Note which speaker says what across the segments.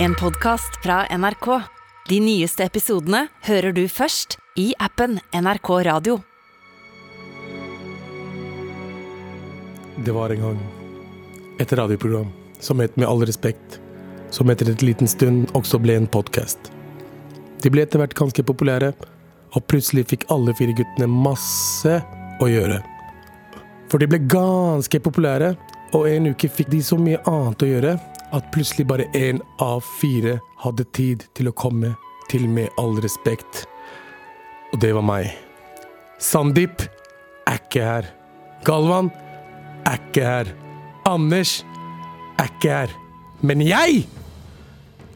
Speaker 1: En podcast fra NRK. De nyeste episodene hører du først i appen NRK Radio.
Speaker 2: Det var en gang et radioprogram som het Med all respekt, som etter et liten stund også ble en podkast. De ble etter hvert ganske populære, og plutselig fikk alle fire guttene masse å gjøre. For de ble ganske populære, og en uke fikk de så mye annet å gjøre at plutselig bare én av fire hadde tid til å komme til Med all respekt. Og det var meg. Sandeep er ikke her. Galvan er ikke her. Anders er ikke her. Men jeg!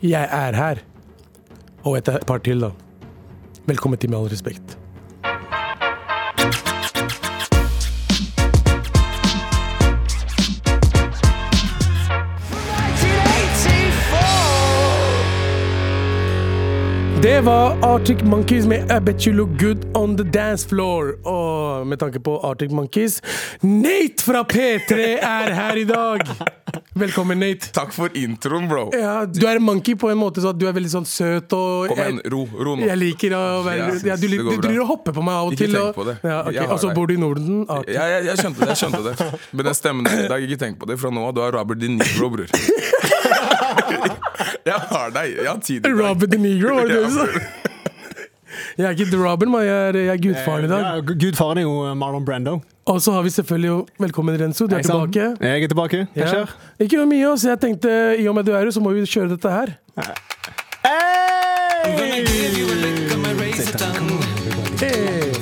Speaker 2: Jeg er her. Og et par til, da. Velkommen til Med all respekt. Det var Arctic Monkeys med I Bet You Look Good On The Dance Floor. Og med tanke på Arctic Monkeys Nate fra P3 er her i dag! Velkommen, Nate.
Speaker 3: Takk for introen, bro.
Speaker 2: Ja, du er en monkey på en måte, så at du er veldig sånn søt og
Speaker 3: Kom igjen, ro, ro nå.
Speaker 2: Jeg liker å være
Speaker 3: Jesus,
Speaker 2: ja, Du,
Speaker 3: det
Speaker 2: lik-
Speaker 3: går
Speaker 2: du
Speaker 3: bra.
Speaker 2: driver og hopper på meg av og
Speaker 3: Ikke
Speaker 2: til.
Speaker 3: tenk
Speaker 2: og-
Speaker 3: på det.
Speaker 2: Ja, ok.
Speaker 3: Jeg har
Speaker 2: Og så
Speaker 3: deg.
Speaker 2: bor du i Norden. Ah,
Speaker 3: Jeg, jeg, jeg skjønte det. jeg skjønte det Men den stemmen der i dag, ikke tenk på det. Fra nå av, du er Robert De Niro, bror. Jeg har deg. Jeg har tid i dag.
Speaker 2: Robert De Niro, var det det du sa?
Speaker 3: Ja, bror.
Speaker 2: Jeg er ikke The Robin, men jeg er, jeg er gudfaren i dag.
Speaker 4: Eh, Ja, gu- gudfaren er jo eh, Marlon Brando.
Speaker 2: Og så har vi selvfølgelig jo Velkommen, Renzo. Du er
Speaker 4: Hei sann.
Speaker 2: tilbake.
Speaker 4: Jeg er tilbake. Hva
Speaker 2: Ja.
Speaker 4: skjer?
Speaker 2: Ikke så mye, så jeg tenkte i og med du er her, så må vi kjøre dette her. Hey!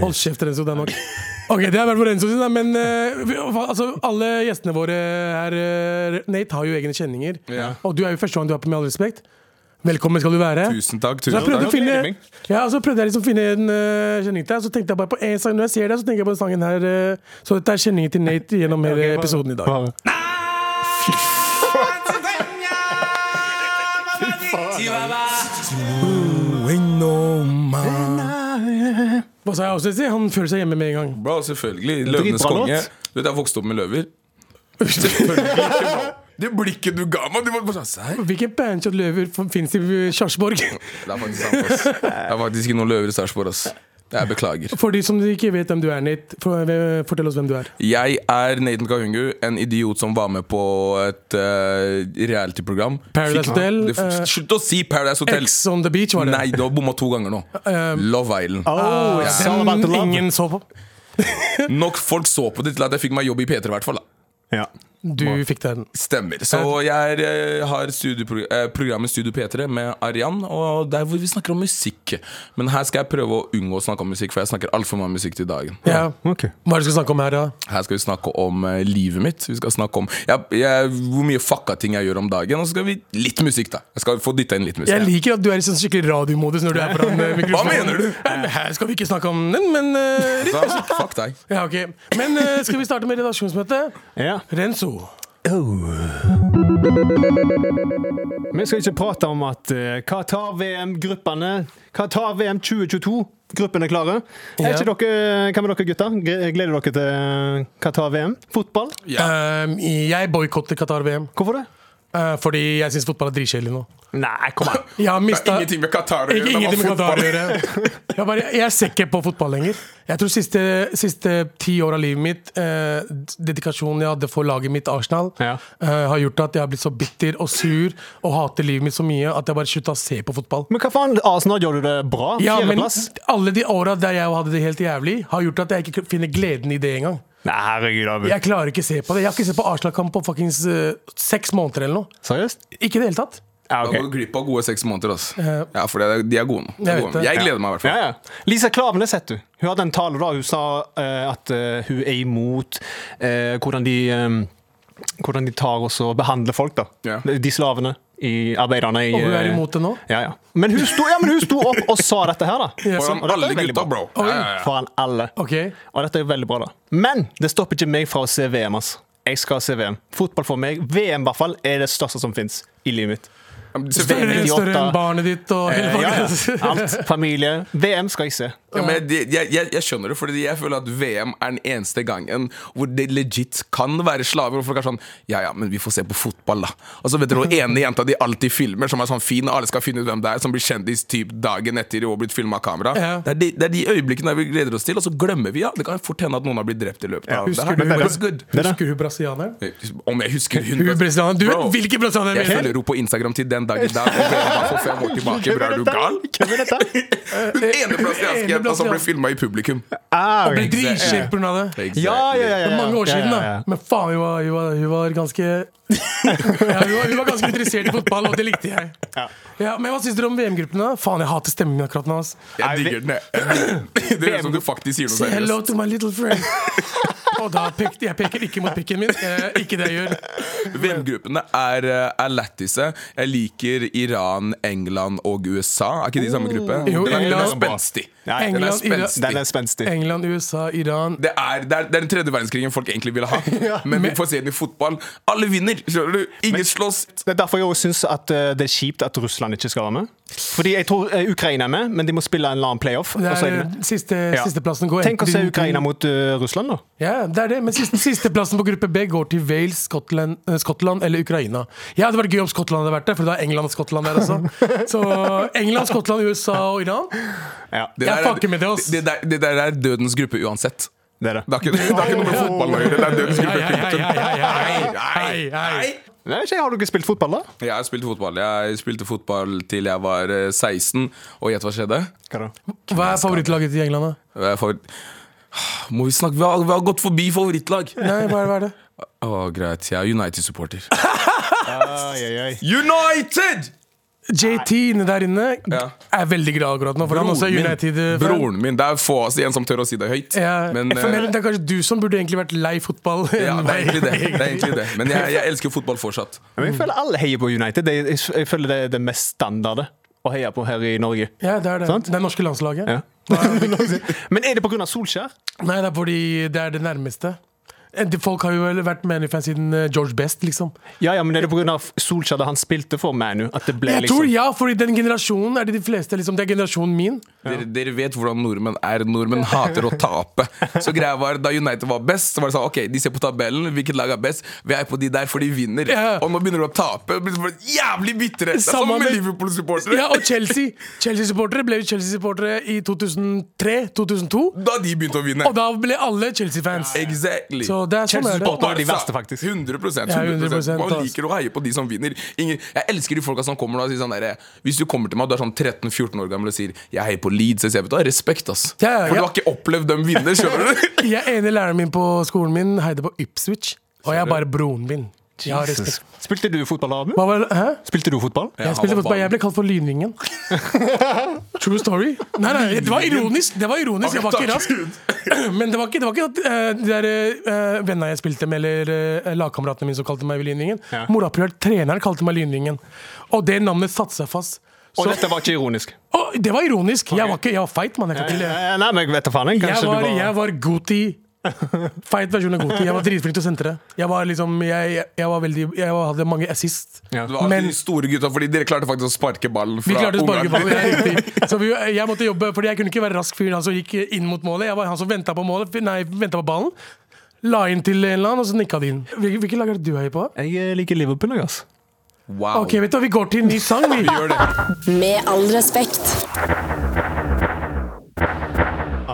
Speaker 2: Hold kjeft, Renzo. Det er nok. Ok, det har vært for Renzo sin, da, men eh, vi, altså, alle gjestene våre her eh, Nate har jo egne kjenninger.
Speaker 3: Ja.
Speaker 2: Og du er jo første gang du er på Med all respekt. Velkommen skal du være.
Speaker 3: Tusen takk.
Speaker 2: Så jeg
Speaker 3: tusen
Speaker 2: prøvde å
Speaker 3: takk
Speaker 2: finne,
Speaker 4: Gratulerer,
Speaker 2: ja, så prøvde jeg liksom å finne en eh, kjenning til deg. Så tenkte jeg bare på en sang Når jeg ser deg, så tenker jeg på den sangen her. eh, så dette er kjenningen til Nate gjennom hele
Speaker 4: Ok, bare-
Speaker 2: episoden i dag.
Speaker 4: Bare-
Speaker 2: Hva sa jeg også? Si? Han føler seg hjemme med en gang.
Speaker 3: Bro, selvfølgelig. Løvenes
Speaker 4: Dritbra
Speaker 3: konge.
Speaker 4: låt.
Speaker 3: Du vet, jeg vokste opp med løver. Selvfølgelig ikke, bro. Det blikket du ga meg, du var bare sånn «Serr?»
Speaker 2: Hvilken bandshot løver fins i eh, Kjarsborg?
Speaker 3: Det er faktisk sant, ass. Det er faktisk ikke noen løver i Sarpsborg, ass. Jeg beklager.
Speaker 2: For de som ikke vet hvem du er, Nate, for, eh, fortell oss hvem du er.
Speaker 3: Jeg er Nathan Kahungu, en idiot som var med på et eh, reality-program.
Speaker 2: Paradise
Speaker 3: Fikk-
Speaker 2: Hotel,
Speaker 3: Det-
Speaker 2: eh,
Speaker 3: Slutt å si Paradise Hotel!
Speaker 2: Ex on the beach, var det. Eh, ah.
Speaker 3: Nei, du har bomma to ganger nå. Love Island.
Speaker 4: Oh, it's all about the
Speaker 2: Den
Speaker 4: love.
Speaker 2: ingen så på.
Speaker 3: Nok folk så på det til at jeg fikk meg jobb i P3, i hvert fall. da.
Speaker 4: Ja.
Speaker 2: Du fikk den.
Speaker 3: Stemmer. Så jeg er, eh, har studiepro- eh, programmet Studio P3 med Arian, og der hvor vi snakker om musikk. Men her skal jeg prøve å unngå å snakke om musikk, for jeg snakker altfor mye om musikk til dagen.
Speaker 2: Ja.
Speaker 4: Ok.
Speaker 2: Hva er det du skal snakke om her, da?
Speaker 3: Her skal vi snakke om eh, livet mitt. Vi skal snakke om jeg, jeg, hvor mye fucka ting jeg gjør om dagen. Og så skal vi litt musikk, da. Jeg skal få dytta inn litt musikk.
Speaker 2: Jeg liker at du er i sånn skikkelig radiomodus når du er foran eh, mikrofonen.
Speaker 3: mener du?
Speaker 2: Ja, men Her skal vi ikke snakke om den, men eh,
Speaker 3: Så, altså, fuck deg.
Speaker 2: Ja, ok. Men eh, skal vi starte med redaksjonsmøtet?
Speaker 4: Ja.
Speaker 2: Renzo.
Speaker 4: Vi skal ikke prate om at eh, Qatar-VM-gruppene Qatar-VM 2022 Gruppene er klare.
Speaker 2: Ja.
Speaker 4: Er ikke dere, hva med dere gutter? Gre- Gleder dere til eh, Qatar-VM? Fotball?
Speaker 2: Ehm, jeg boikotter Qatar-VM
Speaker 4: Hvorfor det?
Speaker 2: eh, fordi jeg syns fotball er dritkjedelig nå.
Speaker 4: Nei, kom an.
Speaker 2: Jeg har
Speaker 3: Det
Speaker 2: mista
Speaker 3: er ingenting med Qatar å
Speaker 2: Ikke
Speaker 3: gjøre. det var
Speaker 2: ingenting med Qatar å
Speaker 3: fotball.
Speaker 2: gjøre. Jeg, bare, jeg ser ikke på fotball lenger. Jeg tror siste, siste ti år av livet mitt, eh, dedikasjonen jeg hadde for laget mitt, Arsenal,
Speaker 4: Ja.
Speaker 2: eh, har gjort at jeg har blitt så bitter og sur og hater livet mitt så mye at jeg bare slutta å se på fotball.
Speaker 4: Men hva faen? Arsenal gjør du det bra?
Speaker 2: Ja, men
Speaker 4: Fjerdeplass?
Speaker 2: alle de åra der jeg hadde det helt jævlig, har gjort at jeg ikke finner gleden i det engang.
Speaker 4: Nei, herregud, Abu.
Speaker 2: Jeg klarer ikke å se på det. Jeg har ikke sett på Arsenal-kamp på fuckings eh, seks måneder eller noe.
Speaker 4: Seriøst?
Speaker 2: Ikke i det hele tatt.
Speaker 4: Ja,
Speaker 3: Da
Speaker 4: ok.
Speaker 3: går du glipp av gode seks måneder. ass. Ja, for det, er- de er gode nå. De
Speaker 2: Eh, Jeg
Speaker 3: er
Speaker 2: vet
Speaker 3: gode nå.
Speaker 2: det.
Speaker 3: Jeg gleder meg i hvert
Speaker 4: Ja,
Speaker 3: fall.
Speaker 4: ja. Lisa Klavenes, vet du. Hun hadde en tale da hun sa eh, at eh, hun er imot eh, hvordan de eh, Hvordan de tar og så behandler folk, da.
Speaker 3: Ja.
Speaker 4: De slavene. I arbeiderne i
Speaker 2: Og hun er
Speaker 4: eh,
Speaker 2: imot det nå?
Speaker 4: Ja, ja. Men, hun sto, ja, men hun sto opp og sa dette her, da.
Speaker 2: Ja,
Speaker 3: Foran
Speaker 4: Og dette er
Speaker 3: alle
Speaker 4: veldig
Speaker 3: gutta,
Speaker 4: bra.
Speaker 3: bro. Ja, ja, ja.
Speaker 4: Foran alle.
Speaker 2: Ok.
Speaker 4: Og dette er jo veldig bra, da. Men det stopper ikke meg fra å se VM, altså. Jeg skal se VM. Fotball for meg, VM i hvert fall, er det største som fins i livet mitt.
Speaker 3: Selvfølgelig.
Speaker 4: Veldig- Eh,
Speaker 2: Større enn barnet ditt og hele
Speaker 4: Ja, ja.
Speaker 2: pakka.
Speaker 4: Alt. Familie. VM skal jeg se.
Speaker 3: Ja, men jeg, jeg, jeg, jeg skjønner det, Fordi jeg føler at VM er den eneste gangen hvor det legit kan være slaver. Og folk er sånn Ja ja, men vi får se på fotball, da. Og så vet dere hun ene jenta de alltid filmer, som er sånn fin, og alle skal finne ut hvem det er, som blir kjendis typ dagen etter og blitt filma av kamera.
Speaker 2: Ja.
Speaker 3: Det, er de, det er de øyeblikkene der vi gleder oss til, og så glemmer vi, ja. Det kan fort hende at noen har blitt drept i løpet av det
Speaker 2: Husker
Speaker 3: her.
Speaker 2: du,
Speaker 3: Men det er good.
Speaker 4: Det er det.
Speaker 2: husker du brasilianeren?
Speaker 3: Om jeg husker hun
Speaker 2: Hun brasilianeren. Du
Speaker 3: Bro.
Speaker 2: vet hvilken brasilianer
Speaker 3: Jeg
Speaker 2: jeg
Speaker 3: følger
Speaker 2: mener!
Speaker 3: henne på Instagram til den dag i dag. Og bare for fem år tilbake, bro, er du gal?
Speaker 4: Hvem er dette?
Speaker 3: Ene brasilianske jenta som ble filma i publikum.
Speaker 4: Ah,
Speaker 2: Ble
Speaker 4: ok.
Speaker 2: dritkjip pga. det.
Speaker 4: Ja, ja, ja, ja,
Speaker 2: Det
Speaker 4: ja.
Speaker 2: er mange år siden,
Speaker 4: Ja, ja,
Speaker 2: da.
Speaker 4: ja.
Speaker 2: Men faen, hun var, hun var, hun var ganske ja, hun, var, hun var ganske interessert i fotball, og det likte jeg.
Speaker 4: Ja.
Speaker 2: Ja, men hva syns dere om VM-gruppen? da? Faen, jeg hater stemningen akkurat nå. ass.
Speaker 3: Jeg digger den, jeg. Det høres ut som du faktisk sier noe
Speaker 2: Say hello
Speaker 3: seriøst.
Speaker 2: to my little friend. Og da pekte jeg peker ikke mot pikken min. Eh, ikke det jeg gjør.
Speaker 3: VM-gruppene er, eh, er lættise. Jeg liker Iran, England og USA. Er ikke de i samme gruppe?
Speaker 2: Oh. Jo,
Speaker 3: Den er- den er
Speaker 2: England-
Speaker 3: spenstig.
Speaker 4: Nei,
Speaker 3: Den er
Speaker 2: England, Iran-
Speaker 3: spenstig.
Speaker 4: Den er spenstig.
Speaker 2: England, USA, Iran.
Speaker 3: Det er, det, er, det er den tredje verdenskrigen folk egentlig ville ha. Men vi får se den i fotball. Alle vinner! Skjønner du? Ingen slåss.
Speaker 4: Det er derfor jeg også syns at eh, det er kjipt at Russland ikke skal være med. Fordi jeg tror eh, Ukraina er med, men de må spille en eller annen playoff.
Speaker 2: Det
Speaker 4: og så er
Speaker 2: er
Speaker 4: de med.
Speaker 2: siste,
Speaker 4: Ja.
Speaker 2: Sisteplassen går
Speaker 4: Tenk å se
Speaker 2: enten-
Speaker 4: Ukraina mot eh, Russland, da.
Speaker 2: Ja, det er det. Men siste, sisteplassen på gruppe B går til Wales, Skottland, eh, Skottland eller Ukraina. Ja, det hadde vært gøy om Skottland hadde vært der, for da er England og Skottland der også. Så England, Skottland, USA og Iran.
Speaker 4: Ja,
Speaker 2: Jeg
Speaker 3: Det der er-
Speaker 2: fucker med det, ass.
Speaker 3: Det, der- det der er dødens gruppe uansett.
Speaker 4: det er
Speaker 3: Det
Speaker 4: det.
Speaker 3: har ikke, det har ikke noe med fotball å gjøre. Det er dødens
Speaker 2: Ja,
Speaker 3: gruppe.
Speaker 2: ja, ja, ja, ja, ja. Hei,
Speaker 3: Nei,
Speaker 2: hei.
Speaker 3: nei.
Speaker 4: Nei, ikke, har du ikke spilt fotball, da?
Speaker 3: Jeg har spilt fotball. Jeg spilte fotball til jeg var eh, 16, og gjett hva skjedde?
Speaker 4: Hva da?
Speaker 2: Hva er favorittlaget til England, da?
Speaker 3: Eh, favoritt- Må vi snakke? Vi har, vi har gått forbi favorittlag. Å,
Speaker 2: Nei, hva er det? Hva er det?
Speaker 3: greit. Jeg er United-supporter.
Speaker 4: Ai, ai, ai.
Speaker 3: United!
Speaker 2: JT inne der inne
Speaker 3: Ja.
Speaker 2: er veldig glad akkurat nå, for han også er United-fan.
Speaker 3: broren min. Det er få av oss igjen som tør å si det høyt.
Speaker 2: Ja,
Speaker 3: Men,
Speaker 2: jeg føler
Speaker 3: eh,
Speaker 2: det er kanskje du som burde egentlig vært lei fotball.
Speaker 3: ja,
Speaker 2: enn
Speaker 3: det er
Speaker 2: meg,
Speaker 3: egentlig det. det, er egentlig det. Men jeg, jeg elsker fotball fortsatt.
Speaker 4: Men jeg føler alle heier på United. Det- Jeg, jeg føler det er det mest standarde å heie på her i Norge.
Speaker 2: Ja, det er det.
Speaker 4: Sant?
Speaker 2: Det er norske landslaget.
Speaker 4: Ja. Men er det pga. Solskjær?
Speaker 2: Nei, det er fordi det er det nærmeste. Eh, de- Folk har jo vel vært Manu-fan siden eh, George Best, liksom.
Speaker 4: Ja, ja, men er det pga. Solskjær da han spilte for Manu? At det ble
Speaker 2: Jeg tror
Speaker 4: liksom
Speaker 2: ja, fordi den generasjonen er det de fleste, liksom. Det er generasjonen min.
Speaker 3: Dere, dere vet hvordan nordmenn er. Nordmenn hater å tape. Så greia var, Da United var best, så var det sånn OK, de ser på tabellen. Hvilket lag er best? Vi er på de der, for de vinner.
Speaker 2: Ja.
Speaker 3: Og nå begynner du å tape. Blir så Jævlig bitre! Det er
Speaker 2: Samme
Speaker 3: som med
Speaker 2: med-
Speaker 3: Liverpool-supportere.
Speaker 2: Ja, og Chelsea. Chelsea-supportere ble jo Chelsea-supportere i 2003-2002.
Speaker 3: Da de begynte å vinne.
Speaker 2: Og da ble alle Chelsea-fans.
Speaker 3: Exactly.
Speaker 2: Så det er sånn er det.
Speaker 4: Chelsea-supporter. var de verste, faktisk.
Speaker 3: 100, 100%,
Speaker 2: Ja, 100%,
Speaker 3: Man
Speaker 2: ass.
Speaker 3: liker å heie på de som vinner. Ingen, jeg elsker de folka som kommer og sier sånn derre Hvis du kommer til meg og du er sånn 13-14 år gammel og sier 'jeg heier på Leeds', så sier jeg vet du hva, respekt, ass.
Speaker 2: Ja, ja,
Speaker 3: For
Speaker 2: ja.
Speaker 3: du har ikke opplevd dem vinne, skjønner du?
Speaker 2: Jeg er enig læreren min på skolen min heide på Ipswich, og jeg er
Speaker 3: du?
Speaker 2: bare broren min. Jeg har respekt.
Speaker 4: Spilte du fotball, Abu?
Speaker 2: Hva var det? Hæ?
Speaker 4: Spilte du fotball?
Speaker 3: Ja,
Speaker 2: Jeg spilte
Speaker 3: han var
Speaker 2: fotball. Jeg ble kalt for Lynvingen. True story. Nei, nei, det var ironisk. Det var ironisk. Jeg var ikke rask. Men det var ikke, det var ikke at eh, de der eh, vennene jeg spilte med, eller uh, lagkameratene mine som kalte meg Lynvingen.
Speaker 4: Ja.
Speaker 2: Morapulert treneren kalte meg Lynvingen. Og det navnet satte seg fast.
Speaker 4: Og
Speaker 2: Så,
Speaker 4: dette var ikke ironisk?
Speaker 2: Å, det var ironisk. Jeg var ikke, jeg var feit, mann. Jeg kan ikke le.
Speaker 4: Eh, Nei, men jeg vet da faen. jeg.
Speaker 2: Jeg
Speaker 4: Kanskje
Speaker 2: var,
Speaker 4: du
Speaker 2: jeg
Speaker 4: var
Speaker 2: var Goti. Feit versjon av Goti. Jeg var dritflink til å sentre. Jeg var liksom, jeg, jeg, jeg var veldig Jeg var, hadde mange assist.
Speaker 4: Ja.
Speaker 3: Du var alltid
Speaker 2: Men-
Speaker 3: de store gutta, fordi dere klarte faktisk å sparke ballen
Speaker 2: Vi
Speaker 3: fra
Speaker 2: klarte å sparke
Speaker 3: ungene.
Speaker 2: ballen. det er riktig. Så vi, jeg måtte jobbe, fordi jeg kunne ikke være rask fyren han som gikk inn mot målet. Jeg var han som venta på målet Nei, ventet på ballen. La inn til en eller annen, og så nikka de inn. Hvil- Hvilke lag er det du heier på?
Speaker 4: Jeg eh, liker Liverpool, jeg,
Speaker 2: altså.
Speaker 4: ass.
Speaker 3: Wow.
Speaker 2: Ok, vet du, hva, Vi går til en ny sang, vi.
Speaker 3: Gjør det.
Speaker 1: Med all respekt.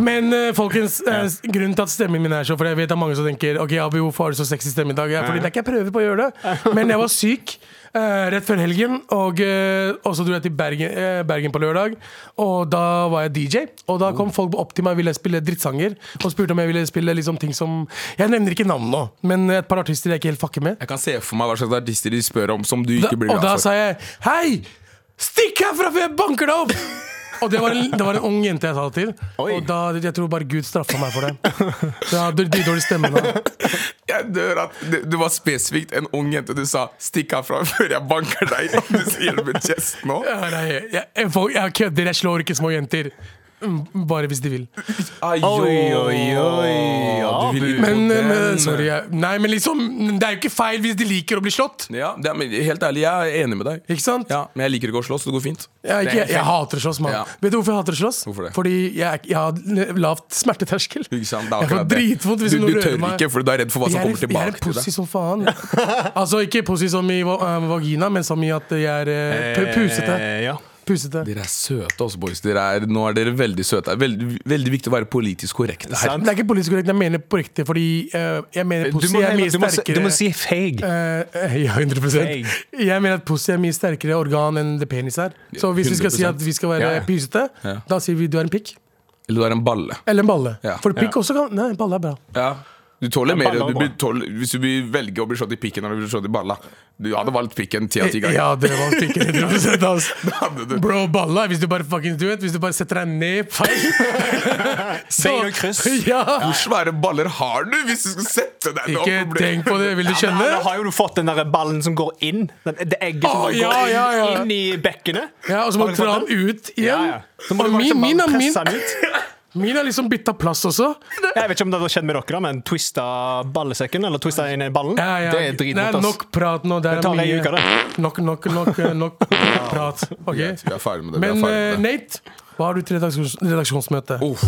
Speaker 2: Men eh, folkens, eh, s- grunnen til at stemmen min er så For jeg vet det er mange som tenker Ok, Abi, hvorfor har du så sexy stemme i dag? Ja, fordi det er ikke jeg prøver på å gjøre det. Men jeg var syk eh, rett før helgen, og eh, og så dro jeg til Bergen, eh, Bergen på lørdag. Og da var jeg DJ, og da kom folk opp til meg og ville spille drittsanger. Og spurte om jeg ville spille liksom ting som Jeg nevner ikke navn nå, men et par artister jeg ikke helt fucker med.
Speaker 3: Jeg kan se for meg hva slags artister de spør om som du
Speaker 2: Da,
Speaker 3: ikke blir
Speaker 2: og da
Speaker 3: glad for.
Speaker 2: sa jeg Hei! Stikk herfra før jeg banker deg opp! Og det var, en, det var en ung jente jeg sa det til.
Speaker 4: Oi.
Speaker 2: Og da, Jeg tror bare Gud straffa meg for det. Så jeg har dritdårlig stemme nå.
Speaker 3: Jeg dør at det, det var spesifikt en ung jente du sa 'stikk herfra før jeg banker deg'. Du sier det med chest nå.
Speaker 2: Ja, nei, Jeg, jeg, folk- jeg kødder, jeg slår ikke små jenter. Mm, Bare hvis de vil.
Speaker 3: Ai,
Speaker 4: Oi,
Speaker 3: jo.
Speaker 4: oi, oi. Ja,
Speaker 3: Du vil
Speaker 4: bu.
Speaker 3: ikke
Speaker 2: Men,
Speaker 3: på
Speaker 2: men,
Speaker 3: den.
Speaker 2: sorry, jeg, nei, men liksom, det er jo ikke feil hvis de liker å bli slått.
Speaker 3: Ja, det er, men helt ærlig, jeg er enig med deg.
Speaker 2: Ikke sant?
Speaker 3: Ja, Men jeg liker ikke å slåss, så det går fint.
Speaker 2: Jeg, er ikke,
Speaker 3: Det er
Speaker 2: jeg,
Speaker 3: helt
Speaker 2: jeg
Speaker 3: fint.
Speaker 2: hater å slåss, mann.
Speaker 3: Ja.
Speaker 2: Vet du hvorfor jeg hater å slåss?
Speaker 3: Hvorfor det?
Speaker 2: Fordi jeg, er ikke- jeg har lavt smerteterskel.
Speaker 3: Ikke sant? Det er
Speaker 2: Jeg får
Speaker 3: akkurat det.
Speaker 2: dritvondt hvis
Speaker 3: du,
Speaker 2: noen
Speaker 3: du
Speaker 2: rører
Speaker 3: tør
Speaker 2: meg.
Speaker 3: ikke, for du er redd for hva som
Speaker 2: Jeg er, jeg
Speaker 3: kommer
Speaker 2: er
Speaker 3: tilbake
Speaker 2: en
Speaker 3: til
Speaker 2: pussy
Speaker 3: deg.
Speaker 2: som faen. altså ikke pussy som i va- eh, vagina, men som i at jeg er eh, pu- pusete.
Speaker 4: Eh, ja.
Speaker 2: pusete.
Speaker 3: Dere er søte, også, boys. Dere er, nå er dere veldig søte. Det er Veldig, veldig viktig å være politisk korrekt. her.
Speaker 4: Sant.
Speaker 2: Det er ikke politisk korrekt, jeg mener på riktig, fordi eh, jeg mener
Speaker 4: Du
Speaker 2: pussy
Speaker 4: må,
Speaker 2: er mye
Speaker 4: heller- du, må, si-
Speaker 2: sterkere.
Speaker 4: du må si feig.
Speaker 2: Eh, ja, 100
Speaker 4: Hey.
Speaker 2: Jeg mener at pussy er mye sterkere organ enn det penis er. Så hvis vi skal si at
Speaker 3: 100%.
Speaker 2: vi skal være
Speaker 4: Ja, ja.
Speaker 2: pysete,
Speaker 3: Ja.
Speaker 2: da sier vi du er en pikk.
Speaker 3: Eller du er en balle.
Speaker 2: Eller en balle.
Speaker 3: Ja.
Speaker 2: For pikk også kan Nei, balle er bra.
Speaker 3: Ja. Du tåler
Speaker 4: Ja,
Speaker 3: mer du
Speaker 4: baller er
Speaker 3: blir tål- hvis du blir- velger å bli slått i pikken enn å bli slått i balla. Du hadde valgt pikken ti av ti ganger.
Speaker 2: Ja, det var pikken 100 altså.
Speaker 3: Det hadde du.
Speaker 2: Bro, balla hvis du bare fucking du vet, Hvis du bare setter deg ned feil så-
Speaker 4: Bein og kryss.
Speaker 2: Ja.
Speaker 3: Hvor svære baller har du hvis du skal sette deg ned?
Speaker 2: Ikke tenk på det, vil du
Speaker 4: Ja, men Da
Speaker 2: skjønne?
Speaker 4: har jo du fått den der ballen som går inn. Den, det egget
Speaker 2: Å,
Speaker 4: som går
Speaker 2: ja,
Speaker 4: inn,
Speaker 2: ja, ja.
Speaker 4: inn i bekkenet.
Speaker 2: Ja, og så må
Speaker 4: Har
Speaker 2: du
Speaker 4: du fått
Speaker 2: dra den ut igjen.
Speaker 4: Så må
Speaker 2: Og
Speaker 4: du bare
Speaker 2: min,
Speaker 4: liksom
Speaker 2: min,
Speaker 4: bare
Speaker 2: er- min,
Speaker 4: presse den ut.
Speaker 2: min er liksom bytta plass også.
Speaker 4: Jeg vet ikke om det har skjedd med dere, da, men twista ballesekken, eller twista inn i ballen,
Speaker 2: Ja, ja.
Speaker 4: det er dritvondt.
Speaker 2: Det er
Speaker 4: ass.
Speaker 2: nok prat nå. Det er
Speaker 4: Det tar ei
Speaker 2: mye-
Speaker 4: uke, det.
Speaker 2: Nok, nok, nok, eh, nok prat. Ok.
Speaker 3: Greit, vi er ferdig med det.
Speaker 2: Men
Speaker 3: vi er
Speaker 2: eh,
Speaker 3: ferdig med det.
Speaker 2: Nate, hva har du til redaksjons redaksjonsmøte?
Speaker 3: Uff.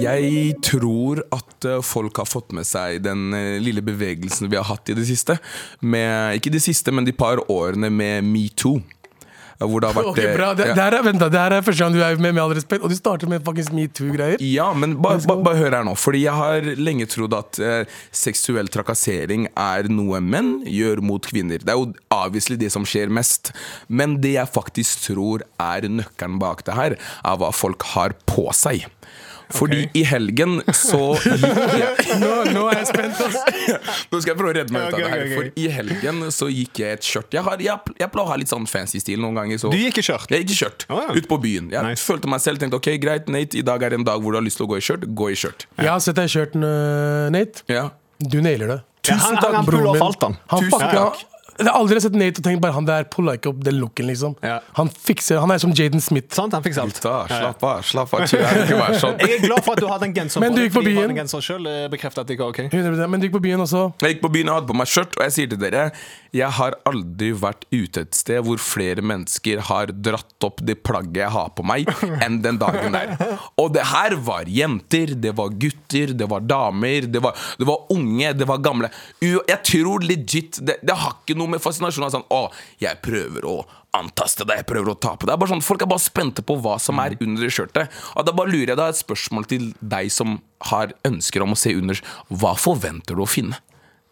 Speaker 3: Jeg tror at eh, folk har fått med seg den eh, lille bevegelsen vi har hatt i det siste. Med, ikke det siste, men de par årene med metoo. Eh, Hvor det har vært
Speaker 2: Ok,
Speaker 3: eh,
Speaker 2: bra. Det,
Speaker 3: ja.
Speaker 2: det, her er, vent da, det her er første gang du er med, med all respekt, og du starter med fuckings metoo-greier.
Speaker 3: Ja, men bare ba, ba hør her nå. Fordi jeg har lenge trodd at eh, seksuell trakassering er noe menn gjør mot kvinner. Det er jo avviselig det som skjer mest. Men det jeg faktisk tror er nøkkelen bak det her, er hva folk har på seg. Fordi i helgen så gikk jeg
Speaker 2: Nå, nå er jeg spent, ass.
Speaker 3: Nå skal jeg prøve å redde meg ut av
Speaker 4: Ok,
Speaker 3: det her.
Speaker 4: ok, ok.
Speaker 3: For i helgen så gikk jeg et skjørt. Jeg, har, jeg, jeg pleier å ha litt sånn fancy stil noen ganger. Så
Speaker 4: Du gikk i skjørt?
Speaker 3: Jeg gikk i skjørt.
Speaker 4: Å, ja.
Speaker 3: Ut på byen. Jeg
Speaker 4: Nice.
Speaker 3: følte meg selv tenkte ok, greit, Nate, i dag er en dag hvor du har lyst til å gå i skjørt. Gå i skjørt.
Speaker 2: Jeg har sett deg i skjørten, eh, Nate.
Speaker 3: Ja
Speaker 2: Du nailer det.
Speaker 4: Ja, han-
Speaker 3: Tusen
Speaker 4: han-
Speaker 3: takk,
Speaker 4: han
Speaker 3: broren
Speaker 4: puller
Speaker 3: min.
Speaker 4: opp alt, han.
Speaker 2: Han
Speaker 3: Tusen
Speaker 2: fucka
Speaker 3: takk.
Speaker 2: Jeg har aldri sett Nate og tenkt bare han der pulla ikke opp den looken, liksom.
Speaker 4: Ja.
Speaker 2: Han fikser Han er som Jaden Smith.
Speaker 4: Sant, han fikser alt.
Speaker 3: Gutta,
Speaker 4: Ja, ja.
Speaker 3: slapp av. slapp av, chill. Jeg vil ikke være sånn.
Speaker 4: Jeg er glad for at du hadde en genser
Speaker 2: Men
Speaker 4: på
Speaker 2: du
Speaker 4: deg,
Speaker 2: gikk på
Speaker 4: fordi jeg
Speaker 2: byen.
Speaker 4: hadde en genser selv, eh, bekreftet at det ikke var ok.
Speaker 2: 100%. Men du gikk på byen også.
Speaker 3: Jeg gikk på byen og hadde på meg skjørt, og jeg sier til dere Jeg har aldri vært ute et sted hvor flere mennesker har dratt opp det plagget jeg har på meg, enn den dagen der. Og det her var jenter, det var gutter, det var damer, det var, det var unge, det var gamle. U- Jeg tror legit Det, det har ikke noe med fascinasjon av sånn Å, jeg prøver å antaste deg, jeg prøver å ta på deg. Det er bare sånn, Folk er bare spente på hva som er under det skjørtet. Og da bare lurer jeg da et spørsmål til deg som har ønsker om å se under. Hva forventer du å finne?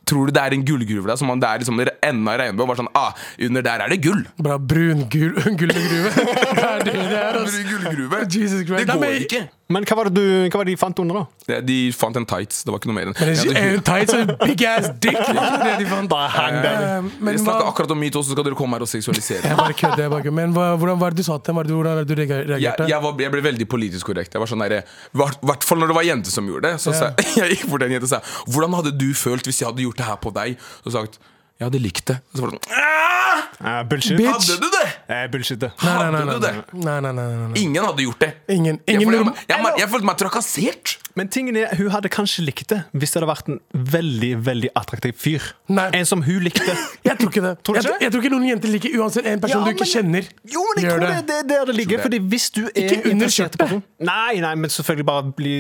Speaker 3: Tror du det er en gullgruve der? Som om det er liksom enda en regnbue? og Bare sånn, ah, under der er det gull!
Speaker 2: Bra brun gul, gullgruve. Det er det det er, ass.
Speaker 3: Under gullgruve.
Speaker 2: Jesus Christ.
Speaker 3: Det
Speaker 2: Nei,
Speaker 3: går
Speaker 2: men-
Speaker 3: ikke!
Speaker 4: Men hva var det, du, hva var det de fant under, da?
Speaker 3: Det- De fant en tights, det var ikke noe mer enn
Speaker 2: Men det er
Speaker 3: Jeg
Speaker 2: jo
Speaker 3: hadde-
Speaker 2: tight som en big ass dick. Det er det de fant.
Speaker 4: Bare hang
Speaker 2: Eh,
Speaker 4: der.
Speaker 2: Men
Speaker 3: Vi snakka
Speaker 2: hva
Speaker 3: akkurat om metoo, så skal dere komme her og seksualisere.
Speaker 2: jeg bare kødder. jeg bare kødder. Men hva, hvordan var det du sa til dem? Hva er det du- Hvordan var det du reager-
Speaker 3: jeg,
Speaker 2: reagerte?
Speaker 3: jeg, var, jeg ble veldig politisk korrekt. Jeg var sånn der, hvert, hvert fall når det var jenter som gjorde det. Så sa jeg, jeg gikk bort til en jente og sa Hvordan hadde du følt hvis jeg hadde gjort det her på deg? Og sagt jeg hadde likt det. Og så var det sånn «Ah,
Speaker 4: Eh, bullshit.
Speaker 2: Bitch.
Speaker 3: Hadde du det?
Speaker 4: Eh, bullshit, det.
Speaker 2: Nei, nei, nei,
Speaker 3: Hadde du
Speaker 2: nei,
Speaker 3: det?
Speaker 2: nei, nei, nei, nei, nei.
Speaker 3: Ingen hadde gjort det.
Speaker 2: Ingen-
Speaker 3: Jeg
Speaker 2: ingen
Speaker 3: følte-
Speaker 2: norm-
Speaker 3: jeg, jeg, jeg følte meg trakassert.
Speaker 4: Men tingen er, hun hadde kanskje likt det hvis det hadde vært en veldig veldig attraktiv fyr.
Speaker 2: Nei.
Speaker 4: En som hun likte.
Speaker 2: Jeg tror ikke det.
Speaker 4: Tror du
Speaker 2: jeg,
Speaker 4: ikke det?
Speaker 2: jeg tror ikke noen jenter liker uansett en person
Speaker 4: Ja,
Speaker 2: du ikke
Speaker 4: men-
Speaker 2: kjenner.
Speaker 4: Jo, men jeg
Speaker 2: gjør
Speaker 4: tror det er det er der det ligger.
Speaker 3: Tror
Speaker 4: Fordi hvis du er
Speaker 2: Ikke under
Speaker 4: interessert i
Speaker 2: skjørtet.
Speaker 4: personen- Nei, nei, men selvfølgelig bare bli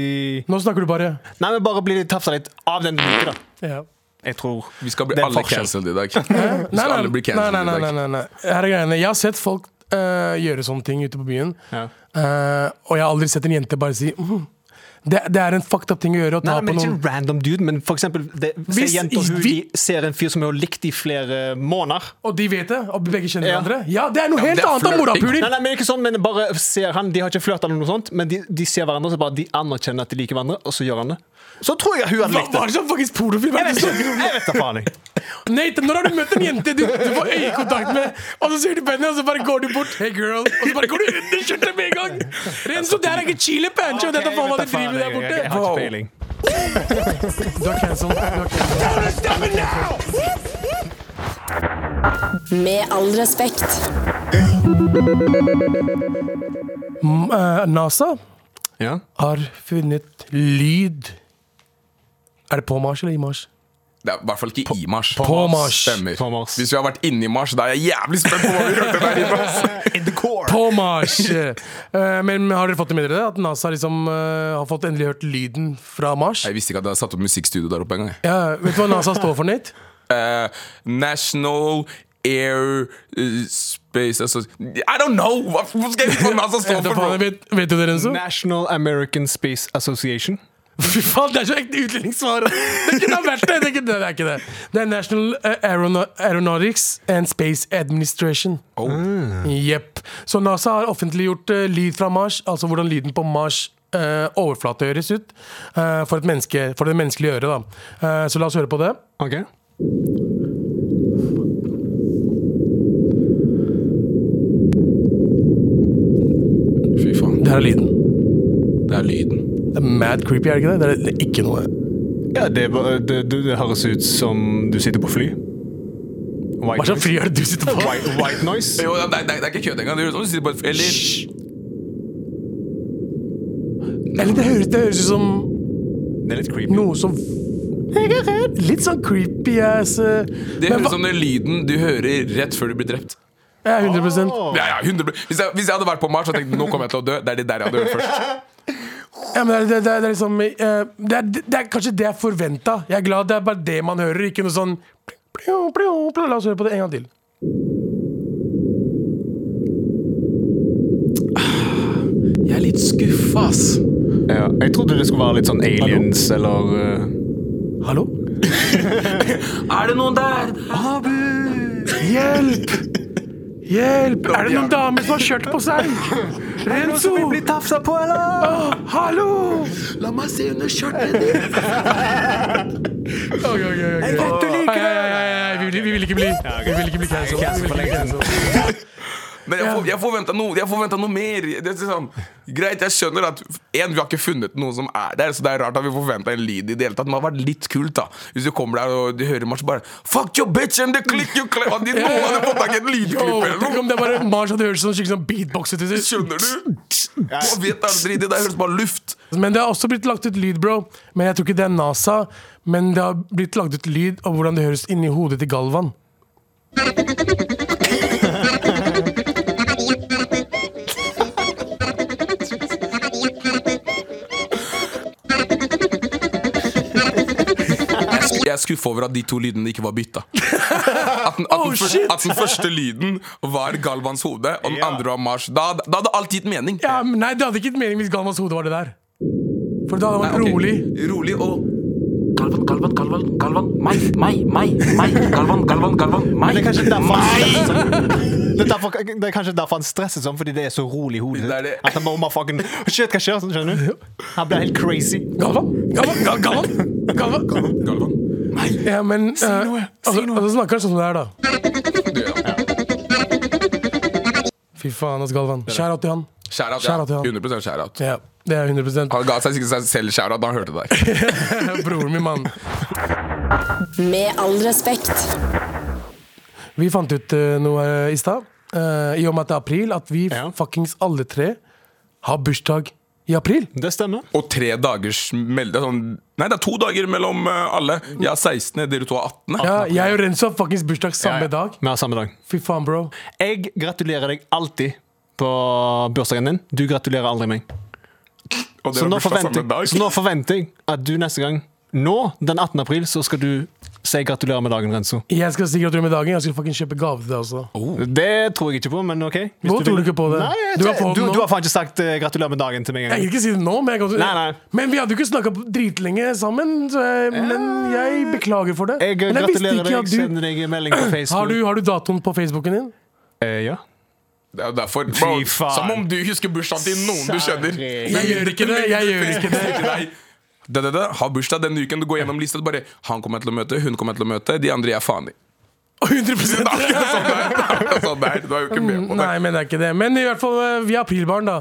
Speaker 2: Nå snakker du bare.
Speaker 4: Nei, men bare bli tafsa litt av den du liker, da.
Speaker 2: Ja.
Speaker 4: Jeg tror
Speaker 3: Vi skal bli
Speaker 4: det er en
Speaker 3: alle
Speaker 4: forskjell.
Speaker 3: cancelled i dag. Vi skal alle bli
Speaker 2: nei, nei,
Speaker 3: cancelled
Speaker 2: nei,
Speaker 3: i
Speaker 2: nei,
Speaker 3: dag.
Speaker 2: nei, nei. Her er greiene. Jeg har sett folk eh, gjøre sånne ting ute på byen.
Speaker 4: Ja.
Speaker 2: Eh, og jeg har aldri sett en jente bare si mm. det, det er en fucked up ting å gjøre. Å ta
Speaker 4: Nei, men
Speaker 2: på
Speaker 4: ikke
Speaker 2: noen
Speaker 4: en random dude, men for eksempel det,
Speaker 2: Hvis-
Speaker 4: Se jenter hun
Speaker 2: vi-
Speaker 4: de ser en fyr som hun har likt i flere måneder.
Speaker 2: Og de vet det, og begge kjenner
Speaker 4: Ja.
Speaker 2: hverandre. Ja, det er noe
Speaker 3: men
Speaker 2: helt
Speaker 3: det er
Speaker 2: annet enn
Speaker 3: flørting.
Speaker 2: morapuler!
Speaker 4: Nei, nei, men ikke sånn, men bare ser han De har ikke flørta eller noe sånt, men de, de ser hverandre, så bare de anerkjenner at de liker hverandre, og så gjør han det. Så tror jeg hun hadde
Speaker 2: Hva
Speaker 4: likt
Speaker 2: var
Speaker 4: det.
Speaker 2: det som fuckings pornofilm?
Speaker 4: Jeg
Speaker 2: er det
Speaker 4: vet
Speaker 2: du
Speaker 4: ikke,
Speaker 2: snakker om?
Speaker 4: jeg vet da faen jeg.
Speaker 2: Nathan, når har du møtt en jente du, du får øyekontakt med, og så sier du henne, og så bare går du bort Hey girl, og så bare går du under skjørtet med en gang? Renzo, det her er ikke chile pancho, dette er faen hva de driver med der
Speaker 4: Jeg- jeg har
Speaker 2: borte.
Speaker 4: ikke
Speaker 3: Wow.
Speaker 4: peiling.
Speaker 2: Du er cancelled. Du er cancelled.
Speaker 1: Med all respekt.
Speaker 2: M- eh, NASA
Speaker 4: Ja.
Speaker 2: har funnet lyd Er det på Mars eller i Mars?
Speaker 3: Det er i hvert fall ikke i Mars.
Speaker 2: på Mars.
Speaker 3: Stemmer.
Speaker 4: På Mars.
Speaker 3: Hvis vi har vært inni Mars, da er jeg jævlig spent på hva vi hørte der inne. ass.
Speaker 4: In the core.
Speaker 2: På Mars! Eh, men har dere fått det med dere at NASA liksom, eh, har fått endelig hørt lyden fra Mars?
Speaker 3: Jeg visste ikke at jeg hadde satt opp musikkstudio der oppe engang. jeg.
Speaker 2: Ja, vet du hva NASA står for, Nate?
Speaker 3: Eh, National Air eh, Space Associ- I don't know! Hva hva skal jeg vite hva NASA står
Speaker 2: Vet,
Speaker 3: for? bro?
Speaker 2: vet, vet du det, Renzo?
Speaker 4: National American Space Association.
Speaker 2: Fy faen, det er så ekte utlendingssvar! Det kunne ha vært det! Det er ikke det. Det er, ikke det. Det er National eh, Aerono Aeronautics and Space Administration.
Speaker 3: Oh.
Speaker 2: Jepp. Så NASA har offentliggjort eh, lyd fra Mars, altså hvordan lyden på Mars eh, overflate høres ut. eh, for, et menneske, for det menneskelige øret, da. Eh, så la oss høre på det.
Speaker 4: Ok.
Speaker 3: Fy faen.
Speaker 2: Det her er lyden.
Speaker 3: Det er lyden.
Speaker 2: Det er mad creepy, er det ikke det? Det er, det er ikke noe
Speaker 4: Ja, det, var- det, det, det høres ut som du sitter på fly.
Speaker 2: Hva
Speaker 4: White
Speaker 2: slags
Speaker 4: noise.
Speaker 2: fly er det du sitter på?
Speaker 4: White, white noise.
Speaker 3: Jo, det, er- det, er- det er ikke kødd engang. Det høres ut som du sitter på et Eller
Speaker 2: Eller det høres, det høres ut som
Speaker 4: Det er litt creepy.
Speaker 2: noe som Jeg er redd. Litt sånn creepy ass eh.
Speaker 3: Det
Speaker 2: Men
Speaker 3: høres
Speaker 2: hva-
Speaker 3: ut som den lyden du hører rett før du blir drept.
Speaker 2: Ja, 100
Speaker 3: Ja, ja, 100 hvis, jeg, hvis jeg hadde vært på Mars og tenkt nå kommer jeg til å dø, det er det der jeg hadde hørt først.
Speaker 2: Ja, men det, det, det, det, er liksom, eh, det, er, det er kanskje det jeg forventa. Jeg er glad det er bare det man hører, ikke noe sånn plio, plio, plio. La oss høre på det en gang til.
Speaker 3: Jeg er litt skuffa, ass.
Speaker 4: Ja, jeg trodde det skulle være litt sånn aliens eller eh,
Speaker 2: Hallo?
Speaker 3: Er det noen der?
Speaker 2: Hjelp! Hjelp! Er det noen damer som har kjørt på seg? Renzo!
Speaker 4: tafsa på, eller?
Speaker 2: Åh, hallo!
Speaker 3: La meg se under skjørtet ditt.
Speaker 2: Jeg vet du liker det! Vi vil, vi vil ikke bli Vi vil ikke bli
Speaker 4: cancel for lenge
Speaker 2: cancelled.
Speaker 3: Men jeg, for- jeg forventa noe, jeg forventet noe mer. Det er sånn, greit, jeg skjønner at en, vi har ikke funnet noe som er der, så det er rart at vi forventa en lyd i det hele tatt. Men det hadde vært litt kult da hvis du kommer der og du hører Mars bare Fuck your bitch and the click you clap At de noen hadde fått tak i et lydklipp eller
Speaker 2: Tenk
Speaker 3: noe.
Speaker 2: om det bare Mars hadde hørt sånn skikkelig sånn beatboxet ut.
Speaker 3: Skjønner du? Man vet aldri. Det der høres bare luft.
Speaker 2: Men det har også blitt lagt ut lyd, bro. Men jeg tror ikke det er NASA. Men det har blitt lagt ut lyd av hvordan det høres inni hodet til Galvan.
Speaker 3: Jeg er skuffa over at de to lydene ikke var bytta. At den, at, den
Speaker 2: Oh,
Speaker 3: fyr-
Speaker 2: shit!
Speaker 3: at den første lyden var Galvans hode, og den
Speaker 4: Ja.
Speaker 3: andre var Mars. Da, da hadde alt gitt mening.
Speaker 2: Ja, men nei, det hadde ikke gitt mening hvis Galvans hode var det der. For da hadde
Speaker 3: Nei,
Speaker 2: han
Speaker 3: ok.
Speaker 2: vært rolig.
Speaker 3: Rolig og
Speaker 5: Galvan, Galvan, Galvan, Galvan, meg, meg, meg, meg, Galvan, Galvan, Galvan, meg.
Speaker 4: Det er kanskje derfor han stresser det er, derfor, det er kanskje derfor han stresser sånn, fordi det er så rolig i hodet
Speaker 3: Det er det.
Speaker 4: sitt. At han bare må fucking Shit, hva skjer? Sånn, skjønner du? Han blir helt crazy.
Speaker 2: Galvan! Galvan! Gal- Galvan! Galvan!
Speaker 3: Galvan. Nei!
Speaker 2: Ja, men Si
Speaker 3: noe, si
Speaker 2: altså,
Speaker 3: noe.
Speaker 2: altså snakker han sånn som det er, da.
Speaker 3: Du, ja.
Speaker 2: Fy faen, ass, Galvan. Skjær av til han.
Speaker 3: Shout out,
Speaker 2: Shout out til
Speaker 3: ja.
Speaker 2: han.
Speaker 3: 100 shout out.
Speaker 2: Ja, det er 100
Speaker 3: Han ga seg sikkert seg selv shout out da han hørte det der.
Speaker 2: Broren min, mann.
Speaker 6: Med all respekt.
Speaker 2: Vi fant ut eh, noe eh, i stad, eh, i og med at det er april, at vi
Speaker 4: Ja.
Speaker 2: fuckings alle tre har bursdag i april.
Speaker 4: Det stemmer.
Speaker 3: Og tre dagers melde sånn Nei, det er to dager mellom eh, alle. Jeg er 16., dere to er 18.
Speaker 2: Ja, jeg og Renzo har fuckings bursdag
Speaker 4: Ja,
Speaker 2: samme
Speaker 4: ja.
Speaker 2: dag.
Speaker 4: Vi har samme dag.
Speaker 2: Fy faen, bro.
Speaker 4: Jeg gratulerer deg alltid på bursdagen din. Du gratulerer aldri meg.
Speaker 3: Og
Speaker 4: Så
Speaker 3: dere
Speaker 4: nå,
Speaker 3: har bursdag
Speaker 4: forventer,
Speaker 3: samme dag.
Speaker 4: så nå forventer jeg at du neste gang, nå den 18. april, så skal du si gratulerer med dagen, Renzo.
Speaker 2: Jeg skal si gratulerer med dagen. Jeg skal fucking kjøpe gave til deg også.
Speaker 4: Oh. Det tror jeg ikke på, men OK. Hvis
Speaker 2: Nå tror
Speaker 4: vil.
Speaker 2: du ikke på det.
Speaker 4: Nei, jeg,
Speaker 2: Du
Speaker 4: du,
Speaker 2: har på
Speaker 4: du,
Speaker 2: den nå.
Speaker 4: du har faen ikke sagt eh, gratulerer med dagen til meg
Speaker 2: Jeg
Speaker 4: engang.
Speaker 2: gidder ikke si det nå, men jeg kan
Speaker 4: Nei, nei.
Speaker 2: Men vi hadde jo ikke snakka dritlenge sammen, så jeg, men jeg beklager for det.
Speaker 4: Jeg
Speaker 2: men jeg visste
Speaker 4: gratulerer
Speaker 2: ikke
Speaker 4: deg,
Speaker 2: at du
Speaker 4: sender deg en melding på Facebook.
Speaker 2: har, du har du datoen på Facebooken din?
Speaker 4: Eh, ja.
Speaker 3: Det er jo derfor, bro,
Speaker 4: Fy faen.
Speaker 3: Som om du husker bursdagen til noen du kjenner.
Speaker 4: Særlig.
Speaker 2: Jeg gjør ikke det, jeg gjør ikke
Speaker 3: det. Det, det, det. Ha bursdag denne uken. Du går gjennom lista. Du bare, han kommer jeg til å møte, hun kommer jeg til å møte, de andre jeg er faen i.
Speaker 2: 100
Speaker 3: Det er akkurat sånn det er. Det er akkurat sånn det er. Du er jo ikke med på det.
Speaker 2: Mm, Nei, men det er ikke det. Men i hvert fall, eh, vi er aprilbarn, da.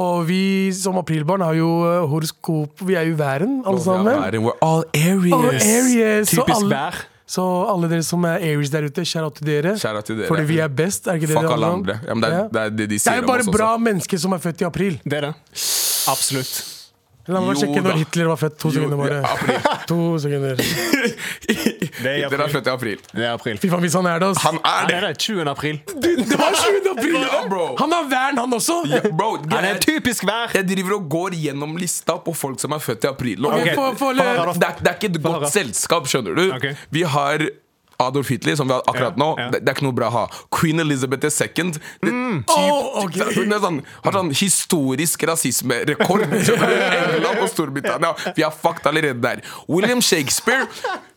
Speaker 2: Og vi som aprilbarn har jo eh, horoskop Vi er jo væren, alle
Speaker 3: Vi er
Speaker 2: sammen.
Speaker 3: væren. We're Sånn, all areas.
Speaker 2: Og Aries. eh, så
Speaker 4: Typisk
Speaker 2: alle-
Speaker 4: vær.
Speaker 2: Så alle dere som er Aries der ute, kjære til dere.
Speaker 3: Shout out til dere.
Speaker 2: Fordi vi er best, er ikke det
Speaker 3: Fuck
Speaker 2: det handler
Speaker 3: alle
Speaker 2: om?
Speaker 3: andre. Ja, men det, er,
Speaker 2: Ja.
Speaker 3: det er det de
Speaker 2: Det
Speaker 3: sier
Speaker 2: er jo bare
Speaker 3: om oss
Speaker 2: bra
Speaker 3: også.
Speaker 2: mennesker som er født i april.
Speaker 4: Det er det. Absolutt.
Speaker 2: La meg bare
Speaker 3: Jo
Speaker 2: sjekke
Speaker 3: da.
Speaker 2: når Hitler var født. To
Speaker 3: Jo,
Speaker 2: sekunder bare.
Speaker 3: ja, april.
Speaker 2: To sekunder.
Speaker 4: Det er
Speaker 3: Dere er
Speaker 4: i april.
Speaker 3: født i april.
Speaker 4: Det er april.
Speaker 2: Fy faen, hvis han er det, ass.
Speaker 3: Han er
Speaker 4: Det
Speaker 3: det!
Speaker 4: er det. 20. april.
Speaker 2: Det var 20. april!
Speaker 3: Ja, bro.
Speaker 2: Han har vern, han også!
Speaker 3: Ja, bro,
Speaker 4: Han
Speaker 3: jeg-
Speaker 4: er typisk vær.
Speaker 3: Jeg driver og går gjennom lista på folk som er født i april. Og
Speaker 2: Ok,
Speaker 3: det,
Speaker 2: få- få-
Speaker 3: det, er, det er ikke et
Speaker 4: høre.
Speaker 3: godt selskap, skjønner du.
Speaker 4: Ok.
Speaker 3: Vi har Adolf Hitler, som vi har akkurat
Speaker 4: Ja,
Speaker 3: nå.
Speaker 4: ja.
Speaker 3: Det, det er ikke noe bra å ha. Queen Elizabeth II. Det, typ,
Speaker 2: Mm. Åh, ok.
Speaker 3: det er sånn, har sånn historisk rasismerekord. skjønner du? England og Storbritannia. Vi har fucked allerede der. William Shakespeare,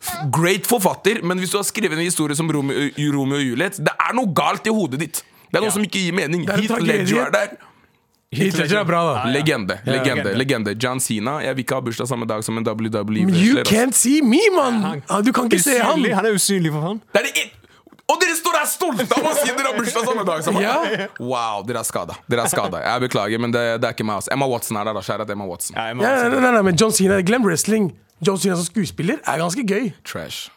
Speaker 3: f- great forfatter, men hvis du har skrevet en historie som Romeo, Romeo og Juliet, det er noe galt i hodet ditt. Det er noe som ikke gir mening.
Speaker 2: er en
Speaker 3: Heath
Speaker 2: tragedie.
Speaker 3: Ledger er der.
Speaker 2: Hitler er bra, da.
Speaker 3: Ah, Legende. legende,
Speaker 4: legende.
Speaker 3: legende John Sina. Jeg vil ikke ha bursdag samme dag som en E
Speaker 2: Men
Speaker 3: WWE-wrestler.
Speaker 2: You
Speaker 3: ass.
Speaker 2: can't see me, mann! Ja, Du kan ikke se han!
Speaker 4: Usynlig. Han er usynlig, for faen.
Speaker 3: Det er det en- Og dere står her stolte av å si dere har bursdag samme dag! Som
Speaker 2: Ja.
Speaker 3: Wow, dere er skada. Dere er skada. Jeg beklager, men det, det er ikke meg. ass. Emma Watson er der, da. Kjære til Emma Watson.
Speaker 4: Ja, jeg må
Speaker 2: Ja,
Speaker 4: også-
Speaker 2: nei, nei, nei, men John Cena, glem wrestling. John Cena som skuespiller er ganske gøy.
Speaker 3: Trash.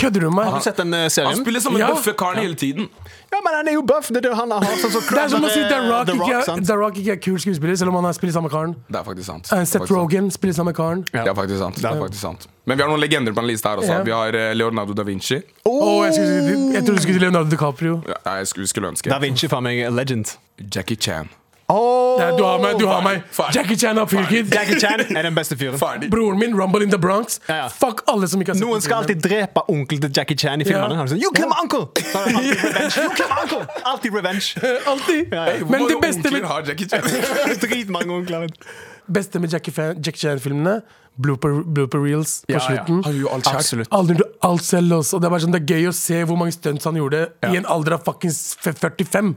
Speaker 2: Kødder du med
Speaker 4: Har
Speaker 2: meg?
Speaker 4: du sett den eh,
Speaker 3: Han
Speaker 4: serien?
Speaker 3: spiller som en
Speaker 2: Ja.
Speaker 3: bøffe karen hele tiden.
Speaker 4: Ja, men han er jo buff! Det er det han har. Sånn som
Speaker 2: Det er som å si
Speaker 4: eh,
Speaker 2: The Rock,
Speaker 4: The
Speaker 2: ikke, er-
Speaker 4: sant?
Speaker 2: The Rock ikke er kul skuespiller, selv om han har spiller samme karen.
Speaker 3: Det er faktisk sant.
Speaker 2: Eh,
Speaker 3: Det er
Speaker 2: Seth
Speaker 3: faktisk sant.
Speaker 2: Rogan spiller samme karen.
Speaker 3: Det er faktisk sant. Det er faktisk sant. Men vi har noen legender på den lista her også.
Speaker 2: Ja. Oh.
Speaker 3: Vi har eh, Leonardo da Vinci.
Speaker 4: Oh!
Speaker 2: Åh, jeg, skulle, si- jeg trodde du skulle si Leonardo DiCaprio.
Speaker 3: Ja, Jeg skulle, skulle ønske
Speaker 4: Da Vinci for meg er legend.
Speaker 3: Jackie Chan.
Speaker 4: Oh,
Speaker 2: Nei, du har meg! du har meg
Speaker 3: Fine.
Speaker 2: Jackie Chan er fyr, kid.
Speaker 4: Jackie Chan er den beste fyren.
Speaker 3: Ferdig.
Speaker 2: Broren min, Rumble in the Bronx.
Speaker 4: Ja, ja.
Speaker 2: Fuck alle som ikke har sett
Speaker 4: Noen skal alltid drepe onkel til Jackie Chan i filmene.
Speaker 2: Ja.
Speaker 4: Han er sånn, you kill my uncle! Så er det alltid revenge. You kill my uncle! Alltid revenge.
Speaker 2: Alltid!
Speaker 4: ja.
Speaker 3: Hvor
Speaker 2: Men
Speaker 3: mange
Speaker 2: det beste
Speaker 3: onkler
Speaker 2: med,
Speaker 3: har Jackie Chan?
Speaker 4: Dritmange onkler. vet du.
Speaker 2: beste med Jackie, Fan- Jackie Chan-filmene Blooper, blooper reels på
Speaker 4: Ja, ja.
Speaker 2: slutten.
Speaker 3: Han gjør jo alt sjæl.
Speaker 4: Absolutt.
Speaker 2: Alle gjorde alt selv også. Og det er bare sånn, det er gøy å se hvor mange stunts han gjorde i en alder av fuckings f- 45.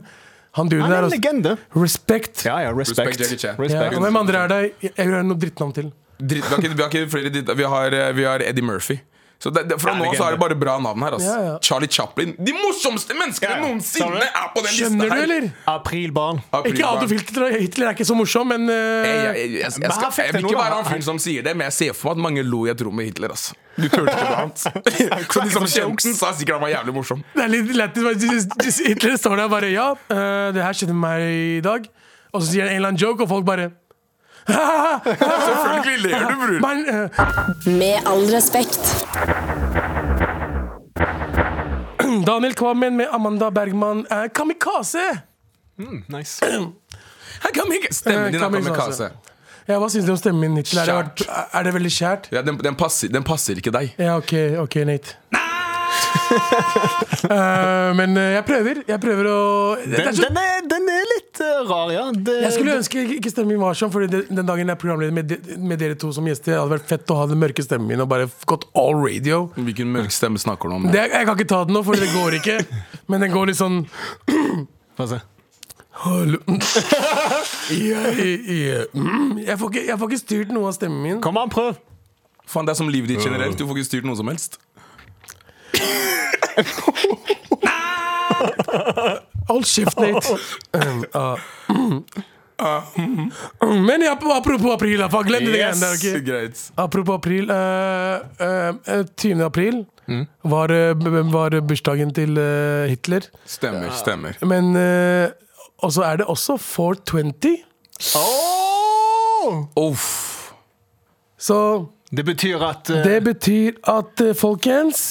Speaker 2: Han duden
Speaker 4: Han er
Speaker 2: der,
Speaker 4: en
Speaker 2: altså.
Speaker 4: legende.
Speaker 2: Respekt.
Speaker 4: Ja, ja, respect.
Speaker 3: Respect Jackie Chan.
Speaker 2: Ja,
Speaker 4: Respect.
Speaker 2: og hvem andre er det? Jeg jeg hører noe drittnavn til.
Speaker 3: Dritt, vi, har ikke, vi har ikke flere dritt, vi har, eh, vi har Eddie Murphy. Så det, det, Fra
Speaker 4: Ja,
Speaker 3: nå av så
Speaker 4: legende.
Speaker 3: er det bare bra navn her. ass.
Speaker 2: Ja, ja.
Speaker 3: Charlie Chaplin. De morsomste menneskene
Speaker 4: Ja, ja. Sa du
Speaker 3: noensinne
Speaker 4: det?
Speaker 3: er på den
Speaker 2: Skjønner du,
Speaker 3: lista her!
Speaker 2: eller?
Speaker 4: Aprilbarn.
Speaker 3: Aprilbarn.
Speaker 2: Ikke Adolf Hitler. Hitler er ikke så morsom, men eh,
Speaker 3: Jeg, jeg, jeg, jeg,
Speaker 4: Men
Speaker 3: jeg,
Speaker 4: han
Speaker 3: skal,
Speaker 4: fikk
Speaker 3: jeg
Speaker 4: det
Speaker 3: vil ikke
Speaker 4: nå,
Speaker 3: være
Speaker 4: han-
Speaker 3: han fyren som sier det, men jeg ser for meg at mange lo i et rom med Hitler. ass Du turte ikke på hans. Så de som kjente den, sa sikkert han var jævlig morsom.
Speaker 2: Det er litt lættis. bare- Hitler står der og bare Ja, eh, det her skjedde med meg i dag. Og så sier han en eller annen joke, og folk bare Ah,
Speaker 3: Selvfølgelig ler du, bror.
Speaker 2: Men eh,
Speaker 6: Med all respekt.
Speaker 2: Daniel Kvammen med Amanda Bergman er kamikaze!
Speaker 4: Nice.
Speaker 3: Her kan vi ikke- Stemmen din
Speaker 2: Eh,
Speaker 3: er
Speaker 2: kan vi
Speaker 3: kamikaze.
Speaker 2: Ja, Hva syns du om stemmen min, Hitler? Er det,
Speaker 3: Kjært.
Speaker 2: vært, er det veldig kjært?
Speaker 3: Ja, den, den, passer, den passer ikke deg.
Speaker 2: Ja, OK, ok, Nate. Eh, men eh, jeg prøver. Jeg prøver å det er
Speaker 4: Den,
Speaker 2: så,
Speaker 4: den, er, den er litt eh, rar, ja. Det,
Speaker 2: Jeg skulle ønske ikke- ikke stemmen min var sånn, Fordi det- den dagen jeg er programleder med, de- med dere to som gjester, det hadde vært fett å ha den mørke stemmen min og bare f- gått all radio.
Speaker 3: Hvilken mørk stemme snakker du om?
Speaker 2: Det, jeg kan ikke ta den nå, for det går ikke. Men den går litt sånn
Speaker 4: Få se.
Speaker 2: Hallo Jeg, jeg, mm, jeg, får ikke, jeg får ikke styrt noe av stemmen min.
Speaker 4: Kom an, prøv.
Speaker 3: Faen, det er som livet ditt generelt. Du får ikke styrt noe som helst.
Speaker 2: Hold kjeft, Nate. Um, ah, mm, ah, mm, mm. Men ja, apropos april, da, faen, glem det
Speaker 4: Yes.
Speaker 2: greiene der. ok?
Speaker 3: Greit.
Speaker 2: Apropos april. eh, eh, eh, 20. april var, eh, b- b- var bursdagen til eh, Hitler.
Speaker 3: Stemmer, stemmer.
Speaker 2: Men eh, Og så er det også 420.
Speaker 3: Uff.
Speaker 2: Så
Speaker 4: Det betyr at eh,
Speaker 2: det betyr at eh, folkens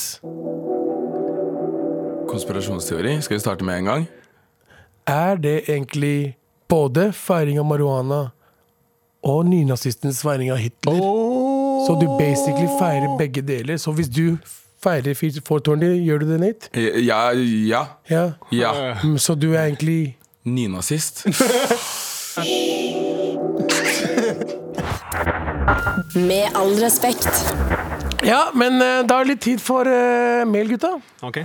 Speaker 3: Konspirasjonsteori. Skal vi starte med en gang?
Speaker 2: Er det egentlig både feiring av marihuana og nynazistens feiring av Hitler? Så du basically feirer begge deler. Så hvis du feirer 420, gjør du det, Nate?
Speaker 3: Ja. Ja.
Speaker 2: Ja.
Speaker 3: ja.
Speaker 4: eh,
Speaker 2: Mm, Så du er egentlig
Speaker 3: Nynazist.
Speaker 6: Med all respekt.
Speaker 2: Ja, men eh, da er det litt tid for eh, mail, gutta.
Speaker 4: Ok.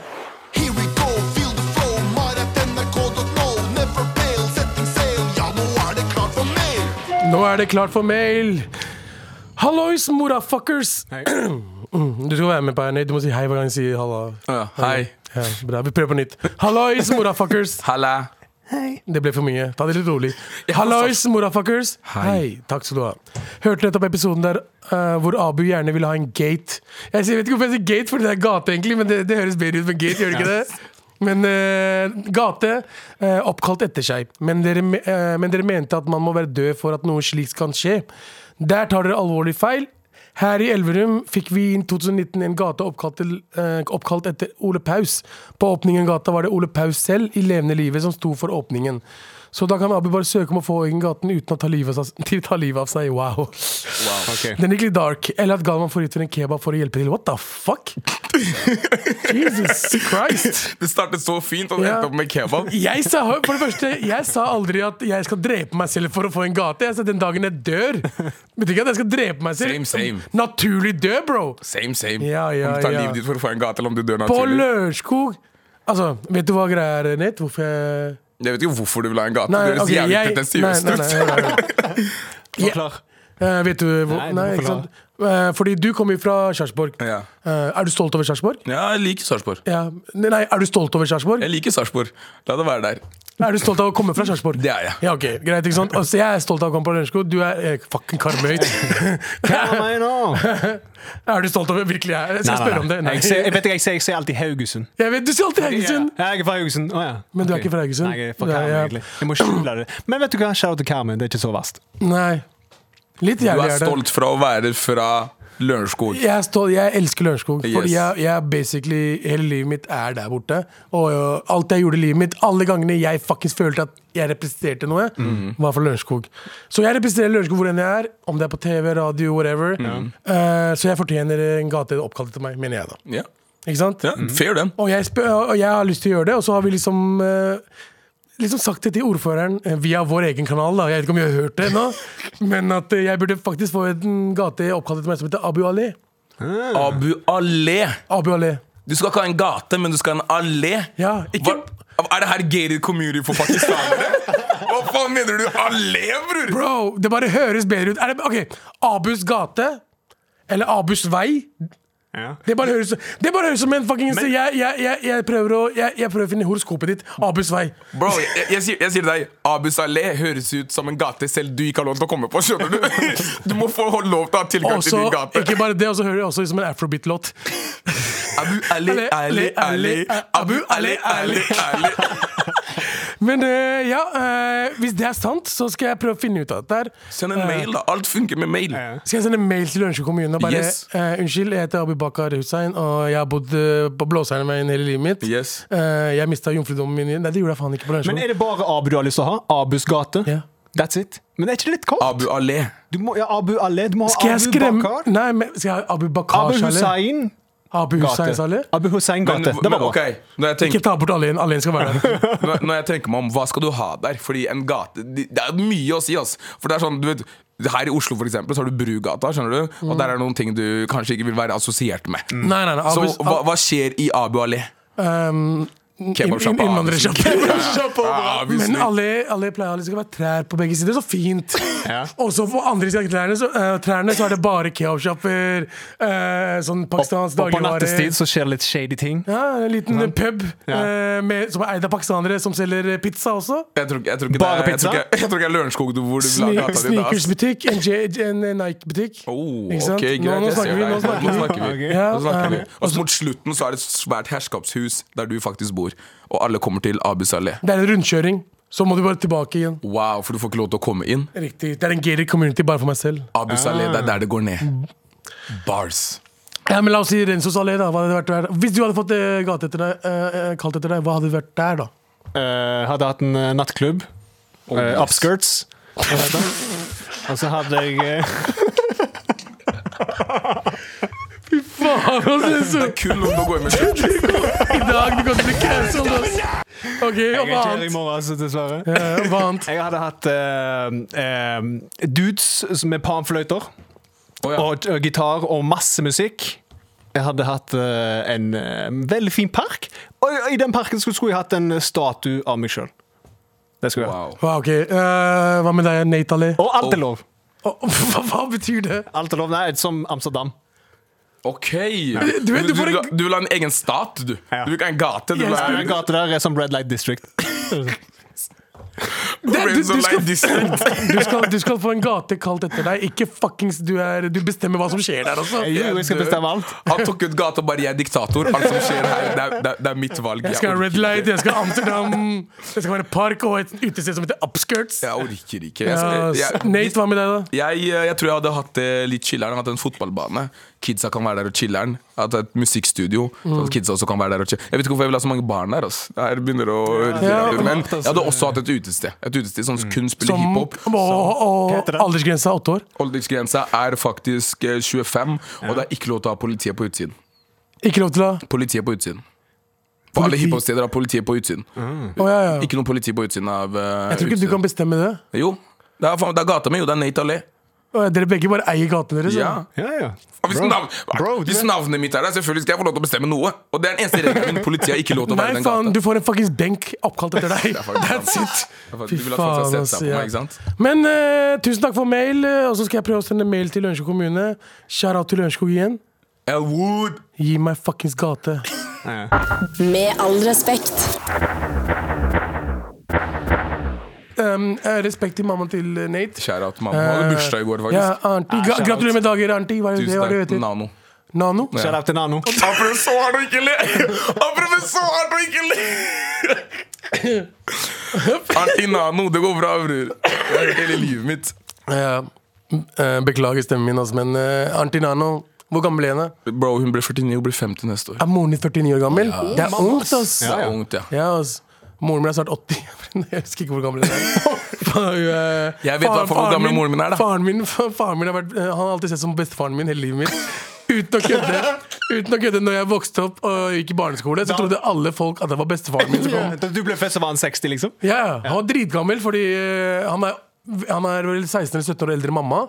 Speaker 7: Here we go, feel the flow, maratnrk.no. Never fail, setting sail. Ja, nå er det klart for mer.
Speaker 2: Nå er det klart for mail. Hallois, morafuckers.
Speaker 4: Hei.
Speaker 2: Du skal være med på her, Nate. Du må si hei hver gang du sier halla.
Speaker 3: Ja, Hei.
Speaker 2: Ja, bra. Vi prøver på nytt. Hallois, morafuckers.
Speaker 3: Halla.
Speaker 4: Hei.
Speaker 2: Det ble for mye. Ta det litt rolig.
Speaker 3: Ja,
Speaker 2: Hallois, morafuckers. Hei. Takk skal du ha. Hørte nettopp episoden der eh, hvor Abu gjerne ville ha en gate. Jeg sier- jeg vet ikke hvorfor jeg sier gate, fordi det er gate, egentlig, men det, det høres bedre ut med gate, gjør det ikke det? Men eh, gate eh, oppkalt etter seg. Men dere, me- eh, men dere mente at man må være død for at noe slikt kan skje. Der tar dere alvorlig feil. Her i Elverum fikk vi i 2019 en gate oppkalt, til, eh, oppkalt etter Ole Paus. På åpningen gata var det Ole Paus selv i levende livet som sto for åpningen. Så da kan Abu bare søke om å få egen gaten uten å ta livet av, seg- ta livet av seg. Wow.
Speaker 4: Ok.
Speaker 2: Den gikk litt dark. Eller at Galvan får ut en kebab for å hjelpe til. What the fuck? Jesus Christ.
Speaker 3: Det startet så fint, og det
Speaker 2: Ja.
Speaker 3: endte opp med kebab.
Speaker 2: Jeg sa, for det første, jeg sa aldri at jeg skal drepe meg selv for å få en gate. Jeg sa den dagen jeg dør. Betyr ikke at jeg skal drepe meg selv.
Speaker 3: Same, same.
Speaker 2: Naturlig død, bro!
Speaker 3: Same, same.
Speaker 2: Ja, ja,
Speaker 3: om du tar
Speaker 2: ja.
Speaker 3: livet ditt for å få en gate, eller om du dør
Speaker 2: På
Speaker 3: naturlig.
Speaker 2: Lørenskog! Altså, vet du hva greia er, Nett? Hvorfor jeg
Speaker 3: Jeg vet ikke hvorfor du vil ha en gate.
Speaker 2: Nei,
Speaker 3: det høres
Speaker 2: ok,
Speaker 3: jævlig
Speaker 2: jeg-
Speaker 3: pretensiøst
Speaker 2: nei,
Speaker 3: ut.
Speaker 2: nei, nei, nei, nei.
Speaker 4: Forklar.
Speaker 2: Eh, vet du hvor Nei,
Speaker 4: Nei, du må
Speaker 2: ikke
Speaker 4: forklare.
Speaker 2: sant? Eh, fordi du kommer jo fra Sarpsborg.
Speaker 3: Ja.
Speaker 2: Eh, er du stolt over Sarpsborg?
Speaker 3: Ja, jeg liker Sarpsborg.
Speaker 2: Ja. Nei, er du stolt over Sarpsborg?
Speaker 3: Jeg liker Sarpsborg. La det være der.
Speaker 2: Er du stolt av å komme fra Sarpsborg?
Speaker 3: Det er jeg.
Speaker 2: Ja, ok, greit, ikke sant? Altså, jeg er stolt av å komme fra Lørenskog. Du er eh, fucking Karmøy.
Speaker 4: Hva mener du nå?
Speaker 2: er du stolt over Virkelig, jeg jeg skal spørre om det. Nei.
Speaker 4: Jeg, ser, jeg vet ikke, jeg sier, jeg sier alltid Haugesund.
Speaker 2: Jeg vet, du sier alltid Haugesund!
Speaker 4: Ja, jeg er fra Haugesund. Å, ja.
Speaker 2: Men du er
Speaker 4: Ok.
Speaker 2: ikke fra Haugesund?
Speaker 4: Nei, jeg er fra
Speaker 2: Nei,
Speaker 4: Karmøy,
Speaker 2: ja.
Speaker 4: egentlig. Jeg må skjule det. Men vet du hva? Shout out til Karmøy. Det er ikke så verst.
Speaker 2: Nei. Litt
Speaker 3: Du
Speaker 2: jævlig
Speaker 3: er
Speaker 2: er det.
Speaker 3: stolt fra å være fra Lørenskog.
Speaker 2: Jeg, er stolt, jeg elsker Lørenskog. Fordi jeg,
Speaker 3: Yes.
Speaker 2: jeg basically Hele livet mitt er der borte. Og ø, alt jeg gjorde i livet mitt, alle gangene jeg faktisk følte at jeg representerte noe, var fra Lørenskog. Så jeg representerer Lørenskog hvor enn jeg er. Om det er på TV, radio, whatever. Eh, så jeg fortjener en gate oppkalt etter meg, mener jeg da.
Speaker 3: Ja.
Speaker 2: Ikke sant?
Speaker 3: Ja, fair den.
Speaker 2: Og jeg, spør, og jeg har lyst til å gjøre det, og så har vi liksom eh, Liksom sagt det til ordføreren eh, via vår egen kanal, da. jeg vet ikke om jeg har hørt det ennå, men at eh, jeg burde faktisk få en gate oppkalt etter meg som heter Abu Ali.
Speaker 3: Abu Allé.
Speaker 2: Abu Ali.
Speaker 3: Du skal ikke ha en gate, men du skal ha en allé.
Speaker 2: Ja, ikke
Speaker 3: Hva, er det her gated community for pakistanere? Hva faen mener du? Allé, bror?
Speaker 2: Bro, det bare høres bedre ut. Er det, ok, Abus gate eller Abus vei.
Speaker 4: Ja.
Speaker 2: Det bare høres, det bare høres som en fucking jeg, jeg, jeg, jeg, prøver å, jeg, jeg prøver å finne horoskopet ditt. Abus vei.
Speaker 3: Bro, jeg, jeg, jeg, sier, jeg sier til deg, Abu Saleh høres ut som en gate selv du ikke har lov til å komme på. skjønner Du Du må få lov til å ha tilgang
Speaker 2: Også,
Speaker 3: til din gate.
Speaker 2: ikke bare det, og så hører jeg også ut som en afrobeat-låt.
Speaker 3: Abu Ali,
Speaker 2: Ali,
Speaker 3: Ali, Ali.
Speaker 2: Ali,
Speaker 3: Abu Ali, Ali, Ali.
Speaker 2: Men eh, ja, eh, hvis det er sant, så skal jeg prøve å finne ut av dette. her.
Speaker 3: Send en
Speaker 2: Eh,
Speaker 3: mail, da. Alt funker med mail.
Speaker 2: Skal jeg sende en mail til Lørenskog kommune og bare
Speaker 3: Yes.
Speaker 2: eh, Unnskyld, jeg heter Abubakar Hussein, og jeg har bodd eh, på Blåserne min hele livet mitt.
Speaker 3: Yes.
Speaker 2: Eh, jeg mista jomfrudommen min. Nei, det gjorde jeg faen ikke på
Speaker 4: Men
Speaker 2: Lørenskog.
Speaker 4: er det bare Abu du har lyst til å ha? Abus gate?
Speaker 2: Ja.
Speaker 4: That's it. Men det er ikke litt kort?
Speaker 3: Abu Aleh.
Speaker 4: Du må, ja, Abu Aleh. Du må ha
Speaker 2: Skal jeg
Speaker 4: Abu
Speaker 2: skremme
Speaker 4: Bakar.
Speaker 2: Nei, men skal jeg ha Abubakar
Speaker 4: Abu Hussein
Speaker 2: Abu Hussein
Speaker 4: gate.
Speaker 2: Saleh?
Speaker 4: Abu Hussein
Speaker 3: Men,
Speaker 4: gate. Det var
Speaker 3: men
Speaker 4: bra.
Speaker 3: ok, når jeg
Speaker 2: Ikke
Speaker 3: tenker,
Speaker 2: ta bort Alin. Alin skal være der.
Speaker 3: når, når jeg tenker meg om, hva skal du ha der? Fordi en gate de- Det er mye å si, ass. For det er sånn, du vet her i Oslo for eksempel, så har du Brugata, skjønner du? og der er det noen ting du kanskje ikke vil være assosiert med.
Speaker 2: Mm. Nei, nei, nei.
Speaker 3: Så
Speaker 2: Abus,
Speaker 3: hva, hva skjer i Abu Aleh?
Speaker 2: um,
Speaker 3: Kebabsjappa,
Speaker 2: Innvandrersjappa.
Speaker 3: Abu.
Speaker 2: Kebabsjappa,
Speaker 3: Ja, Abu,
Speaker 2: Men
Speaker 3: snill.
Speaker 2: alle, alle pleier alle skal være trær på begge sider. Så fint! Og så på andre siden av trærne så, eh, trærne så er det bare kebabsjapper. eh, sånn pakistansk
Speaker 4: Og på nattestid
Speaker 2: dagligvare.
Speaker 4: så skjer det litt shady ting.
Speaker 2: Ja, en liten pub
Speaker 4: Ja.
Speaker 2: eh, med, som er eid av pakistanere, som selger eh, pizza også.
Speaker 3: Jeg tror, ikke- jeg tror ikke
Speaker 4: Bare
Speaker 3: det er, jeg
Speaker 4: pizza?
Speaker 3: tror ikke, jeg tror ikke det er Lørenskog du- hvor du vil ha
Speaker 2: Sne-
Speaker 3: gata di. da, ass.
Speaker 2: Sneakersbutikk, en, J- en Nike-butikk.
Speaker 3: Oh,
Speaker 2: Ikke sant?
Speaker 3: ok, greit,
Speaker 2: Nå- nå
Speaker 3: jeg ser
Speaker 2: snakker vi,
Speaker 3: deg.
Speaker 2: nå snakker vi.
Speaker 4: Ok.
Speaker 2: Ja,
Speaker 3: Nå snakker vi.
Speaker 2: eh,
Speaker 3: Og så mot slutten så er det et svært herskapshus der du faktisk bor, og alle kommer til Abu Saleh.
Speaker 2: Det er en rundkjøring. Så må du bare tilbake igjen.
Speaker 3: Wow, for du får ikke lov til å komme inn.
Speaker 2: Riktig. Det er en gated community bare for meg selv.
Speaker 3: Abu Saleh, det er der det går ned. Bars.
Speaker 2: Ja, men La oss si Renzos allé, da. Hva hadde det vært der? Hvis du hadde fått eh, gate etter deg, eh, eh, kalt etter deg, hva hadde det vært der, da?
Speaker 4: Eh, hadde hatt en eh, nattklubb. Eh, upskirts. Hva heter det? Og så hadde jeg eh,
Speaker 2: Faen, altså!
Speaker 3: Det er kun om du går med slutt.
Speaker 2: I dag du kommer til å bli cancelled, ass! OK,
Speaker 4: Jeg
Speaker 2: hva
Speaker 4: er ikke her i
Speaker 2: annet?
Speaker 4: morgen, altså, dessverre.
Speaker 2: Eh, Hva annet?
Speaker 4: Jeg hadde hatt eh, eh, dudes med panfløyter
Speaker 3: Å, ja.
Speaker 4: og, og gitar og masse musikk. Jeg hadde hatt eh, en eh, veldig fin park, og i den parken skulle, skulle jeg hatt en statue av meg sjøl. Det skulle jeg hatt.
Speaker 3: Wow.
Speaker 2: Hva, ok. Eh, hva med deg, Nate Allé?
Speaker 4: Og alt er lov.
Speaker 2: Å, hva, hva betyr det?
Speaker 4: Alt er lov, Nei, som Amsterdam.
Speaker 3: Ok.
Speaker 2: Du vet, du
Speaker 3: du,
Speaker 2: får en-
Speaker 3: vil ha- du vil ha en egen stat, du.
Speaker 4: Ja.
Speaker 3: Du vil ikke ha en gate. Du
Speaker 2: Jeg
Speaker 3: vil ha
Speaker 4: Den
Speaker 3: en...
Speaker 4: gata der er som Red Light District.
Speaker 2: Det-
Speaker 3: Ble
Speaker 2: du-
Speaker 3: så
Speaker 2: du skal-
Speaker 3: lei distrikt.
Speaker 2: Du skal, du skal få en gate kalt etter deg. Ikke fuckings du er Du bestemmer hva som skjer der, altså.
Speaker 4: Jo, jeg skal bestemme alt.
Speaker 3: Han tok ut gata og bare 'jeg er diktator'. Alt som skjer her, det er, det er, det er mitt valg.
Speaker 2: Jeg skal ha
Speaker 3: orker
Speaker 2: red light,
Speaker 3: ikke.
Speaker 2: jeg skal ha Amsterdam, det skal være park og et utested som heter Upskirts.
Speaker 3: Jeg orker ikke. Jeg,
Speaker 2: Ja,
Speaker 3: jeg,
Speaker 2: s-
Speaker 3: jeg,
Speaker 2: Nate, hva med deg, da?
Speaker 3: jeg, eh, jeg tror jeg hadde hatt det litt chiller'n. Hatt en fotballbane. Kidsa kan være der og chiller'n. Hatt et musikkstudio. Så
Speaker 2: Mm.
Speaker 3: at kidsa også kan være der og chill. Jeg vet ikke hvorfor jeg vil ha så mange barn der. ass. Det her begynner å
Speaker 2: Ja,
Speaker 3: irritere meg. Men jeg hadde også hatt et utested. Et utested som kun spiller
Speaker 2: Mm. Som, og,
Speaker 3: hiphop.
Speaker 2: og
Speaker 4: heter det?
Speaker 2: aldersgrensa åtte år.
Speaker 3: Aldersgrensa er faktisk eh, 25, og det er ikke lov til å ha politiet på utsiden.
Speaker 2: Ikke lov til å
Speaker 3: Politiet på utsiden. På alle
Speaker 2: Politi-
Speaker 3: hiphop-steder har politiet på utsiden.
Speaker 2: Å, ja, ja.
Speaker 3: Ikke noe politi på utsiden av eh,
Speaker 2: Jeg tror ikke du
Speaker 3: utsiden.
Speaker 2: kan bestemme det.
Speaker 3: Jo. Det er, faen- det er gata mi, jo. Det er Nate Allé.
Speaker 2: Å, ja, Dere begge bare eier gatene deres.
Speaker 3: Ja.
Speaker 2: Ja.
Speaker 4: Ja, ja.
Speaker 3: Og Hvis,
Speaker 4: Bro.
Speaker 3: navn,
Speaker 4: Bro, du
Speaker 3: hvis
Speaker 4: vet-
Speaker 3: navnet mitt er der, selvfølgelig skal jeg få lov til å bestemme noe. Og det er den eneste regelen min. Politiet har ikke lov til å være i
Speaker 2: Nei,
Speaker 3: den
Speaker 2: faen,
Speaker 3: gata.
Speaker 2: du får en fuckings benk oppkalt etter deg.
Speaker 3: er faktisk
Speaker 2: That's it.
Speaker 3: Det er faktisk- Du vil at folk skal sette seg på meg,
Speaker 2: ja.
Speaker 3: ikke sant?
Speaker 2: Men eh, tusen takk for mail, eh, og så skal jeg prøve å sende mail til Lørenskog kommune. Shout-out til Lørenskog igjen.
Speaker 3: Elwood!
Speaker 2: Gi meg fuckings gate.
Speaker 6: Med all respekt.
Speaker 2: Um, eh, respekt til mammaen til eh, Nate.
Speaker 3: Kjære at mamma hadde bursdag i går, faktisk.
Speaker 2: Ja, auntie,
Speaker 4: Ah,
Speaker 2: gra
Speaker 4: shout-out.
Speaker 2: gratulerer med dager, auntie. Hva er det,
Speaker 3: Tusen
Speaker 2: hva er det
Speaker 3: takk.
Speaker 2: heter?
Speaker 3: Nano.
Speaker 2: Nano?
Speaker 4: Shout out til Nano.
Speaker 3: Han prøver så hardt å ikke le! Han prøver så hardt å ikke le! Artig Nano, det går bra, bror. Jeg har hørt hele livet mitt.
Speaker 2: Ja. Eh, beklager stemmen min, altså, men eh, auntie Nano, hvor gammel er henne?
Speaker 3: Bro, hun blir 49 og blir 50 neste år.
Speaker 2: Er moren din 49 år gammel? Det er ungt, ass.
Speaker 3: Det er ungt, ja.
Speaker 2: Ja, altså. Moren min er snart 80. Jeg husker ikke hvor gammel hun er. Faen, hun er-
Speaker 3: eh,
Speaker 2: Faren-
Speaker 3: Jeg vet hvertfall hvor
Speaker 2: faren
Speaker 3: gammel moren min er, da.
Speaker 2: Faren min, fa- faren min har vært, eh, han har alltid sett som bestefaren min hele livet mitt. Uten å kødde. Uten å kødde Når jeg vokste opp og gikk i barneskole, så trodde alle folk at det var bestefaren min som kom.
Speaker 4: Da du ble født, så var han 60, liksom?
Speaker 2: Ja, han var dritgammel, fordi eh, han er, han er vel 16 eller 17 år eldre enn mamma.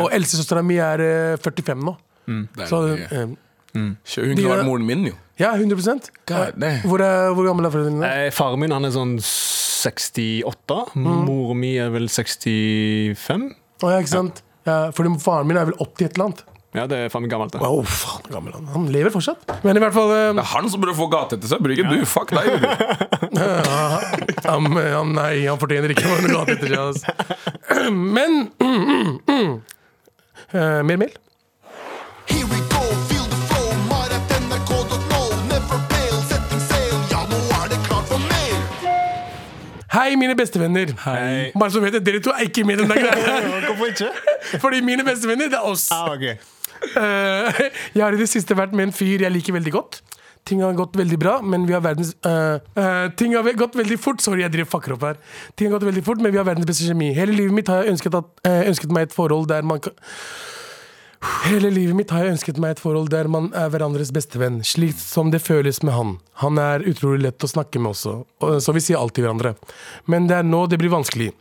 Speaker 2: Og eldstesøstera mi er eh, 45 nå.
Speaker 3: Det er
Speaker 2: Så,
Speaker 3: mye.
Speaker 2: eh,
Speaker 3: Hun kunne vært moren min, jo.
Speaker 2: ja, 100
Speaker 3: God damn.
Speaker 2: Hvor, er, hvor gammel er foreldrene dine?
Speaker 4: Eh, Faren min han er sånn 68. Moren min er vel 65.
Speaker 2: Å, ja, ikke sant? Ja, fordi faren min er vel 80 et eller annet.
Speaker 4: Ja, det er faen meg gammelt. det.
Speaker 2: Wow, faen, hvor gammel han. er. han lever fortsatt. Men i hvert fall eh,
Speaker 3: Det er han som burde få gate etter seg, bryr ikke du. Fuck deg. bror.
Speaker 2: han, eh, han, Nei, han fortjener ikke noe galt etter seg. Altså. Men mm, mm, mm. Eh, Mer mail?
Speaker 7: Here we go, feel the flow, mar at nrk.no. Never fail, setting sail, ja, nå er det klart for mer.
Speaker 2: Hei, mine bestevenner.
Speaker 4: Hei.
Speaker 2: Bare så vet jeg, dere to er ikke med i den der greia.
Speaker 4: Hvorfor ikke?
Speaker 2: Fordi mine bestevenner, det er oss.
Speaker 4: Ah, ok.
Speaker 2: Eh, jeg har i det siste vært med en fyr jeg liker veldig godt. Ting har gått veldig bra, men vi har verdens eh, eh, Ting har ve- gått veldig fort. Sorry, jeg driver fucker opp her. Ting har gått veldig fort, men vi har verdens beste kjemi. Hele livet mitt har jeg ønsket, at, eh, ønsket meg et forhold der man kan Hele livet mitt har jeg ønsket meg et forhold der man er hverandres bestevenn, slik som det føles med han. Han er utrolig lett å snakke med også, og- så vi sier alt til hverandre. Men det er nå det blir vanskelig.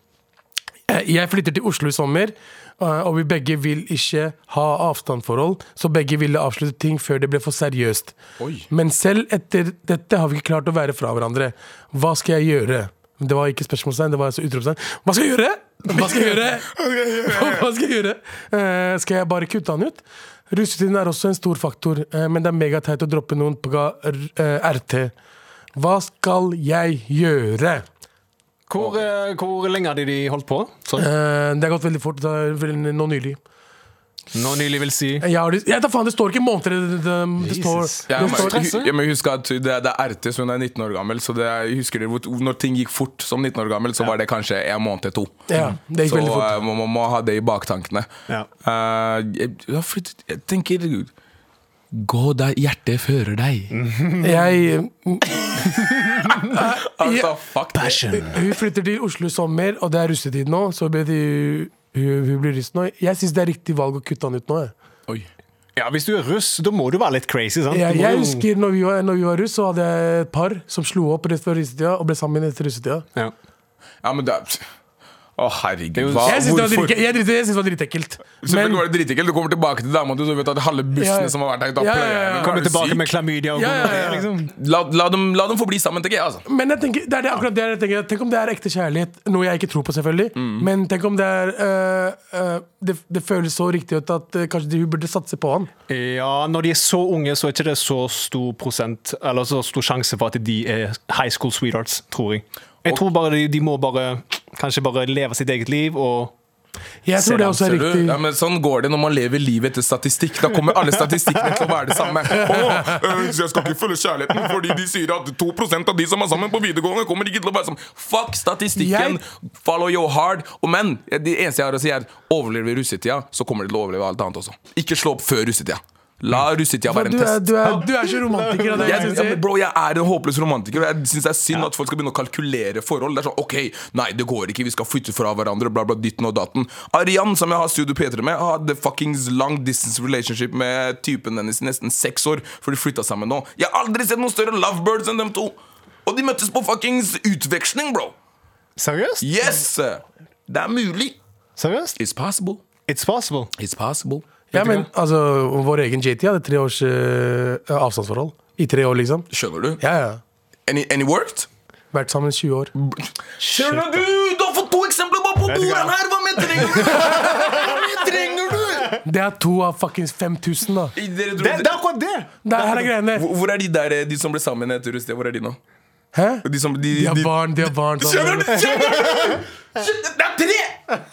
Speaker 2: Eh, Jeg flytter til Oslo i sommer, eh, og vi begge vil ikke ha avstandsforhold, så begge ville avslutte ting før det ble for seriøst.
Speaker 3: Oi.
Speaker 2: Men selv etter dette har vi ikke klart å være fra hverandre. Hva skal jeg gjøre? Det var ikke spørsmålstegn, det var altså utropstegn. Hva skal jeg gjøre? Hva skal jeg gjøre? Hva skal jeg gjøre? Eh, skal jeg bare kutte han ut? Russetiden er også en stor faktor, eh, men det er megateit å droppe noen på ga- r- eh, RT. Hva skal jeg gjøre?
Speaker 4: Hvor, eh, hvor lenge hadde de holdt på? Sånn, Sorry.
Speaker 2: Eh, det har gått veldig fort. Det er vel nå nylig.
Speaker 4: Nå nylig vil si
Speaker 2: Jeg, har, jeg tar faen, det står ikke måneder. Det, det, det står,
Speaker 4: Jesus.
Speaker 3: Ja,
Speaker 2: det
Speaker 3: men,
Speaker 2: står
Speaker 3: hu- ja, men husk at det er, det er RT, så hun er 19 år gammel. Så det er, husker dere hvor- Når ting gikk fort som 19 år gammel, så var det kanskje en måned til to.
Speaker 2: Ja, det gikk
Speaker 3: så
Speaker 2: veldig fort.
Speaker 3: eh, man må, må ha det i baktankene.
Speaker 4: Ja.
Speaker 3: Eh, jeg, ja, for jeg tenker Gå der hjertet fører deg.
Speaker 2: Mm. Jeg,
Speaker 3: Altså, fuck det.
Speaker 2: hun flytter til Oslo i sommer, og det er russetid nå. Så blir de, hun, hun blir russ nå. Jeg syns det er riktig valg å kutte han ut nå. Jeg,
Speaker 3: Oi.
Speaker 4: Ja, Hvis du er russ, da må du være litt crazy. sant? Du
Speaker 2: jeg,
Speaker 4: må
Speaker 2: jeg
Speaker 4: jo-
Speaker 2: husker når vi, var, når vi var russ, så hadde jeg et par som slo opp rett før russetida og ble sammen etter russetida.
Speaker 4: ja.
Speaker 3: Ja, men det er- Å, herregud.
Speaker 4: jo-
Speaker 3: Hva,
Speaker 2: Jeg syns det var
Speaker 3: hvorfor?
Speaker 2: dritt- jeg dritt- jeg syns det var dritekkelt.
Speaker 3: Selvfølgelig var det dritekkelt. Du kommer tilbake til dama du, så vet du at halve bussene
Speaker 2: Ja, ja.
Speaker 3: som har vært her, da
Speaker 2: Ja, ja,
Speaker 3: pløyer
Speaker 2: ja, ja.
Speaker 3: den.
Speaker 2: Kommer
Speaker 3: Er
Speaker 4: Kommer
Speaker 3: du
Speaker 4: tilbake
Speaker 3: syk?
Speaker 4: med klamydia og
Speaker 2: Ja, ja, ja.
Speaker 4: gonorré, liksom.
Speaker 3: la, la, dem, la dem få bli sammen, tenker jeg. altså
Speaker 2: Men jeg tenker, det er det akkurat det jeg tenker. Tenk om det er ekte kjærlighet, noe jeg ikke tror på, selvfølgelig. Men tenk om det er øh, øh, det, det føles så riktig ut at øh, kanskje de- hun burde satse på han.
Speaker 4: Ja, når de er så unge, så er ikke det så stor prosent Eller så stor sjanse for at de er high school sweethearts, tror jeg. Jeg tror bare de, de må bare kanskje bare leve sitt eget liv og
Speaker 2: Jeg
Speaker 4: Ser
Speaker 2: tror det
Speaker 4: han,
Speaker 2: også er
Speaker 3: Ser du?
Speaker 2: riktig.
Speaker 3: Ja, men sånn går det når man lever livet etter statistikk. Da kommer alle statistikkene til å være det samme. Å, øh, så jeg skal ikke følge kjærligheten fordi de sier at 2 av de som er sammen på videregående, kommer ikke til å være sammen. Fuck statistikken! Follow your heart. Og men det eneste jeg har å si, er overlever russetida, så kommer de til å overleve alt annet også. Ikke slå opp før russetida. La russetida
Speaker 2: For
Speaker 3: være
Speaker 2: du,
Speaker 3: en
Speaker 2: er,
Speaker 3: test.
Speaker 2: du, er, du er så romantiker av det.
Speaker 3: Jeg,
Speaker 2: Jeg,
Speaker 3: ja, men
Speaker 2: jeg,
Speaker 3: bro, jeg er en håpløs romantiker. og Jeg synes Det er synd at folk skal begynne å kalkulere forhold. Det er sånn, ok, nei, det går ikke, vi skal flytte fra hverandre, bla, bla, ditten og datten. Arian, som jeg har studio P3 med, hadde fuckings long distance relationship med typen hennes i nesten seks år, for de flytta sammen nå. Jeg har aldri sett noen større lovebirds enn dem to. Og de møttes på fuckings utveksling, bro.
Speaker 4: Seriøst?
Speaker 3: Yes! Det er mulig.
Speaker 4: Seriøst?
Speaker 3: It's possible.
Speaker 4: It's possible.
Speaker 3: It's possible.
Speaker 2: ja, men altså, vår egen JT hadde tre års øh, avstandsforhold. I tre år, liksom.
Speaker 3: Skjønner du?
Speaker 2: Ja, ja.
Speaker 3: Any, any worked?
Speaker 2: Vært sammen i 20 år.
Speaker 3: Skjønner du? Du har fått to eksempler bare på
Speaker 4: Vet du hva?
Speaker 3: bordet her! Hva mer trenger du? Hva mer trenger du?
Speaker 2: Det er to av fuckings 5000, da.
Speaker 3: I- Dere dro,
Speaker 4: Det, det er akkurat det!
Speaker 2: Det her er greiene.
Speaker 3: Hvor, hvor er de der eh, de som ble sammen etter Rustia? Hvor er de nå?
Speaker 2: Hæ?
Speaker 3: De som, de,
Speaker 2: De har
Speaker 3: de,
Speaker 2: barn, de har barn.
Speaker 3: Skjønner
Speaker 2: Sånn.
Speaker 3: du? Skjønner du? Skjønner- Det er tre!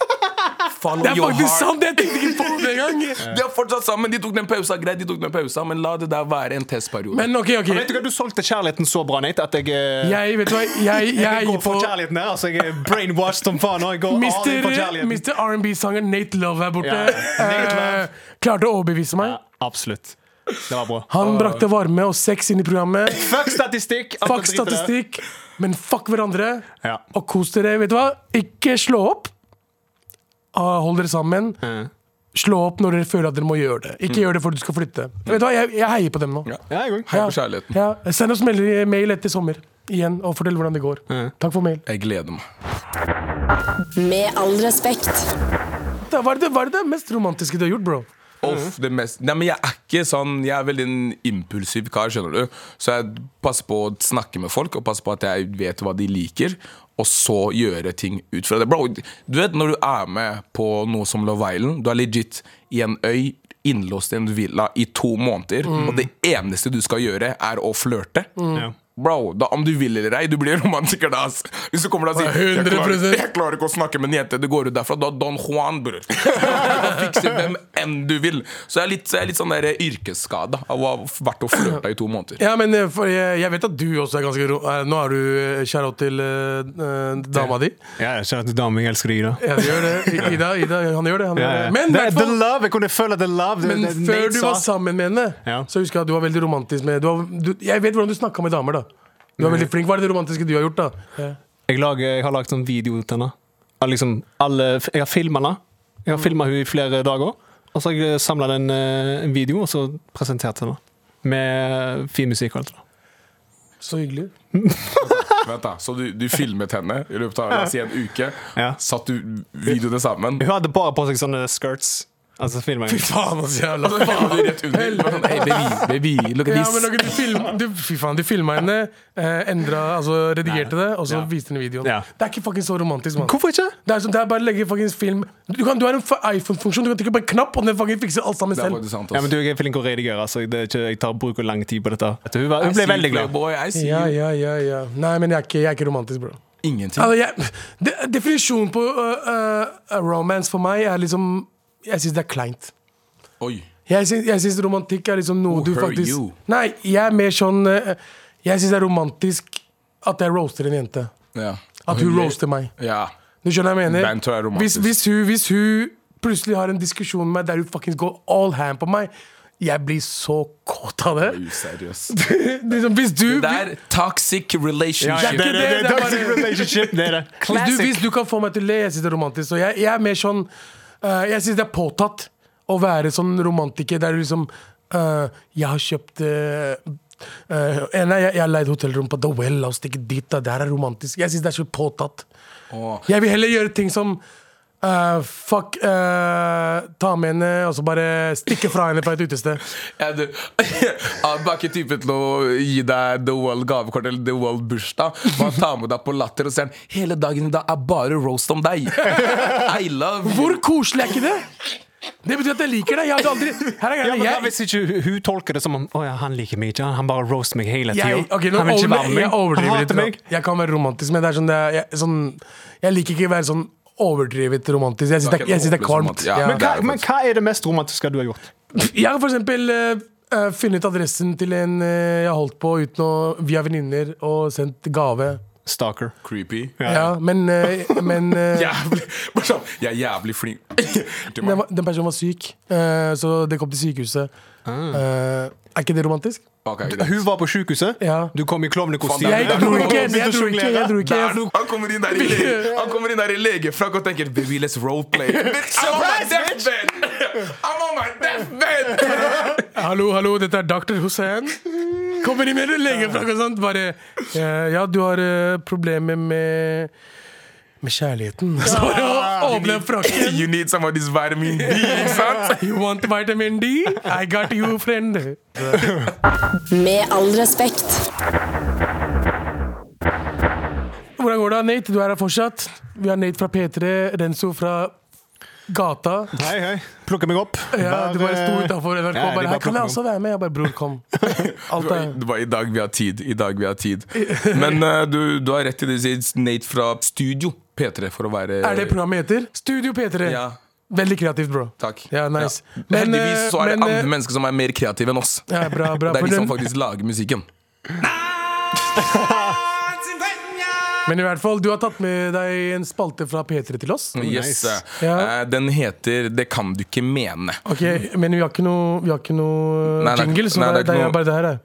Speaker 3: Follow
Speaker 2: Det er
Speaker 3: your
Speaker 2: faktisk
Speaker 3: heart.
Speaker 2: sant! Jeg tenkte ikke på det engang.
Speaker 3: De er fortsatt sammen. De tok den pausa, greit, de tok den pausa, men la det der være en testperiode.
Speaker 2: Men OK, OK.
Speaker 4: Vet du hva, du solgte kjærligheten så bra, Nate, at jeg, eh,
Speaker 2: Jeg, vet du hva, jeg, jeg,
Speaker 4: jeg går
Speaker 2: på
Speaker 4: for kjærligheten her. Altså, jeg er brainwashed som faen. Og jeg går all in for
Speaker 2: Mister,
Speaker 4: kjærligheten.
Speaker 2: Mister R&B-sangeren Nate Love her borte
Speaker 4: Ja, Nate Love.
Speaker 2: eh, klarte å overbevise meg.
Speaker 4: Ja, absolutt. Det var bra.
Speaker 2: Han brakte varme og sex inn i programmet.
Speaker 4: Fuck statistikk! alt
Speaker 2: Fuck
Speaker 4: det dritet der.
Speaker 2: statistikk, men fuck hverandre.
Speaker 4: Ja.
Speaker 2: Og kos dere. Vet du hva? Ikke slå opp. Ah, Hold dere sammen. Slå opp når dere føler at dere må gjøre det. Ikke gjør det før du skal flytte. Vet du hva? Jeg, jeg heier på dem nå.
Speaker 3: Ja.
Speaker 4: Mm. Ja, jeg går.
Speaker 3: Hei på kjærligheten.
Speaker 2: Ja. Send oss mel- mail etter sommer igjen og fortell hvordan det går. Takk for mail.
Speaker 3: Jeg gleder meg.
Speaker 6: Med all respekt.
Speaker 2: Da, Hva er det, hva er det mest romantiske du har gjort, bro?
Speaker 3: Off det mest Nei, men jeg er ikke sånn Jeg er veldig en impulsiv kar, skjønner du. Så jeg passer på å snakke med folk, og passer på at jeg vet hva de liker. Og så gjøre ting ut fra det. Bro, du vet når du er med på noe som Love Island, du er legit i en øy, innlåst i en villa i to måneder, og det eneste du skal gjøre, er å flørte.
Speaker 4: Ja.
Speaker 3: Bro, da, om du vil eller ei, du blir romantiker da. ass. Hvis du kommer da og sier
Speaker 2: 100%.
Speaker 3: jeg klarer, 'Jeg klarer ikke å snakke med en jente', du går ut derfra, da er Don Juan, bror. Du kan fikse hvem enn du vil. Så jeg er litt, jeg er litt sånn der yrkesskada av å ha vært og flørta i to måneder.
Speaker 2: Ja, men eh, for jeg, jeg vet at du også er ganske ro... eh, Nå er du eh, shout-out til eh, eh, dama di.
Speaker 4: Ja, kjære til damer, jeg elsker deg, da.
Speaker 2: Ja, det gjør det. I- Ida, Ida, han gjør det. Han
Speaker 4: Ja,
Speaker 2: gjør
Speaker 4: ja.
Speaker 2: det. Men, i
Speaker 4: det,
Speaker 2: hvert
Speaker 4: the
Speaker 2: fall-
Speaker 4: love, jeg kunne føle the love. Det,
Speaker 2: men
Speaker 4: det,
Speaker 2: før
Speaker 4: Nate
Speaker 2: du
Speaker 4: sa.
Speaker 2: var sammen med henne,
Speaker 4: Ja.
Speaker 2: så husker jeg at du var veldig romantisk med du var, du, Jeg vet hvordan du snakka med damer, da. Du var veldig flink. Hva er det romantiske du har gjort, da?
Speaker 4: jeg, lager, jeg har lagd sånn video til henne. Av Liksom, alle, jeg har filma henne. Jeg har filma henne i flere dager. Og så har jeg samla en, eh, en video og så presentert henne. Med fin musikk og alt. det der.
Speaker 2: Så hyggelig.
Speaker 3: Vent da, Så du, du filmet henne i løpet av la oss si, en uke?
Speaker 4: Ja.
Speaker 3: Satt du videoene sammen?
Speaker 4: Hun hadde bare på seg sånne skirts. Altså, filmet jeg.
Speaker 2: Faen, altså, jævla
Speaker 3: Og så filmet du rett under. Det var sånn, «Hey, baby, baby, look at
Speaker 2: Ja,
Speaker 3: this».
Speaker 2: men ok, du film, du, Fy faen, du filma henne, eh, endra, altså redigerte det, og så
Speaker 4: Ja.
Speaker 2: viste den videoen.
Speaker 4: Ja.
Speaker 2: Det er ikke fucking så romantisk, mann.
Speaker 4: Hvorfor ikke?
Speaker 2: Det er, som, det er bare å legge fucking film Du, kan, du har en fa- iPhone-funksjon, du kan trykke på en knapp, og den fucking fikser alt sammen
Speaker 3: Det er
Speaker 2: selv.
Speaker 3: faktisk sant,
Speaker 4: Ja,
Speaker 3: ass.
Speaker 4: men du, Jeg er flink å redigere, altså. Det er ikke, jeg tar bruker lang tid på dette. Vet du, Hun, var, hun ble veldig glad.
Speaker 3: Playboy, I see
Speaker 2: Ja,
Speaker 3: you.
Speaker 2: ja, ja, ja. Nei, men jeg er ikke, jeg er ikke romantisk, bro.
Speaker 3: Ingenting.
Speaker 2: Altså, jeg, de, definisjonen på øh, øh, romance for meg er liksom Jeg syns det er kleint.
Speaker 3: Oi.
Speaker 2: Jeg syns, jeg syns romantikk er liksom noe
Speaker 3: Who
Speaker 2: du
Speaker 3: hurt
Speaker 2: faktisk
Speaker 3: you?
Speaker 2: Nei, jeg er mer sånn eh, Jeg syns det er romantisk at jeg roaster en jente.
Speaker 3: Ja.
Speaker 2: At hun roaster meg.
Speaker 3: Ja.
Speaker 2: Du skjønner hva jeg
Speaker 3: Banter er
Speaker 2: mener? Hvis,
Speaker 3: romantisk.
Speaker 2: hvis, hun, hvis hun plutselig har en diskusjon med meg der hun fuckings går all hand på meg, jeg blir så kåt av det.
Speaker 3: Useriøs.
Speaker 2: liksom, hvis du
Speaker 3: Det er toxic relationship.
Speaker 2: ja, det- det- det er
Speaker 4: toxic
Speaker 2: bare-
Speaker 4: relationship, det er det.
Speaker 2: Hvis
Speaker 4: Altså,
Speaker 2: du,
Speaker 4: Classic.
Speaker 2: hvis du kan få meg til å le, jeg synes det er romantisk. Og jeg, jeg er mer sånn eh, Jeg synes det er påtatt å være sånn romantiker der du liksom eh, Jeg har kjøpt eh, Eh, en av- jeg, jeg har leid hotellrom på The Well. La oss stikke dit, da. Det her er romantisk. Jeg syns det er så påtatt.
Speaker 3: Åh.
Speaker 2: Jeg vil heller gjøre ting som eh, Fuck eh, Ta med henne og så bare stikke fra henne fra et utested.
Speaker 3: Ja, du Abba er ikke typen til å gi deg The World gavekort eller The World bursdag. Man tar med deg på latter og sier han, 'Hele dagen i dag er bare roast om deg'. I love you.
Speaker 2: Hvor koselig er ikke det? Det betyr at jeg liker deg. Jeg hadde aldri Her er
Speaker 4: Ja,
Speaker 2: greia.
Speaker 4: men da,
Speaker 2: jeg,
Speaker 4: Hvis ikke hun- hun tolker det som om Å ja, han liker meg ikke, han bare roaster meg hele tida.
Speaker 2: jeg, ok, nå
Speaker 4: han vil ikke
Speaker 2: over-
Speaker 4: være med
Speaker 2: Jeg
Speaker 4: meg. Han
Speaker 2: overdriver
Speaker 4: hater
Speaker 2: litt.
Speaker 4: meg.
Speaker 2: da. Jeg kan være romantisk, men det er sånn, det er, jeg, sånn Jeg liker ikke å være sånn overdrevet romantisk. Jeg syns det,
Speaker 3: Det er
Speaker 2: er- jeg synes det er
Speaker 3: ikke
Speaker 2: kvalmt.
Speaker 3: romantisk, ja.
Speaker 4: Men
Speaker 3: det er
Speaker 4: hva,
Speaker 3: det
Speaker 4: men
Speaker 3: faktisk.
Speaker 4: hva er det mest romantiske du har gjort?
Speaker 2: Jeg har for eksempel eh, eh, funnet adressen til en eh, jeg har holdt på uten å, via venninner og sendt gave.
Speaker 4: Stalker.
Speaker 3: Creepy.
Speaker 2: Ja, men, eh, men eh,
Speaker 3: Jævlig Bare sånn Jeg er jævlig flink. Til
Speaker 2: den,
Speaker 3: meg.
Speaker 2: var- den personen var syk, eh, så det kom til sykehuset.
Speaker 3: Ah.
Speaker 2: Eh, er ikke det romantisk?
Speaker 3: Ok, greit.
Speaker 4: Hun var på sykehuset,
Speaker 2: Ja.
Speaker 4: du kom i klovnekostyme.
Speaker 3: Faen,
Speaker 2: Jeg
Speaker 3: det er-
Speaker 2: dro
Speaker 3: det er-
Speaker 2: ikke,
Speaker 3: det er-
Speaker 2: jeg dro ikke, jeg dro ikke.
Speaker 3: Der, du- han kommer inn der i, lege- han kommer inn der i legefrakk og tenker Baby, let's roleplay. Bitch, I'm on my deathbed! I'm on my deathbed!
Speaker 2: Hallo, hallo, dette er Dr. Hussein. Kommer inn med en legefrakk og sånt. Bare eh, Ja, du har eh, problemer med med kjærligheten. Så bare å- åpne frakken.
Speaker 3: You need some of this vitamin D, ikke sant?
Speaker 2: You want vitamin D? I got you, friend.
Speaker 6: Med all respekt.
Speaker 2: Hvordan går det, Nate? Du er her fortsatt. Vi har Nate fra P3, Renzo fra gata.
Speaker 4: Hei, hei. Plukker meg opp.
Speaker 2: Ja, du bare sto utenfor NRK
Speaker 4: Ja, de
Speaker 2: bare Her
Speaker 4: bare
Speaker 2: kan jeg
Speaker 4: plukker
Speaker 2: også være med. Jeg bare Bror, kom. Alt er
Speaker 3: Det var i dag vi har tid. I dag vi har tid. Men eh, du, du har rett til det sier Nate fra Studio P3 for å være
Speaker 2: Er det programmet heter? Studio P3.
Speaker 3: Ja.
Speaker 2: Veldig kreativt, bro.
Speaker 3: Takk.
Speaker 2: Ja, nice.
Speaker 3: Ja.
Speaker 2: Men, eh,
Speaker 3: Heldigvis så er det
Speaker 2: men,
Speaker 3: andre mennesker som er mer kreative enn oss.
Speaker 2: Ja, bra, bra.
Speaker 3: Det er liksom
Speaker 2: For
Speaker 3: de
Speaker 2: den-
Speaker 3: som faktisk lager musikken.
Speaker 2: Men i hvert fall, du har tatt med deg en spalte fra P3 til oss.
Speaker 3: Yes.
Speaker 4: nice.
Speaker 3: eh,
Speaker 2: Ja.
Speaker 3: eh, Den heter 'Det kan du ikke mene'.
Speaker 2: Ok, Men vi har ikke noe, vi har ikke noe
Speaker 3: Nei, det er-
Speaker 2: jingle, så
Speaker 3: nei,
Speaker 2: det,
Speaker 3: det er
Speaker 2: er
Speaker 3: ikke noe-
Speaker 2: bare det her. er.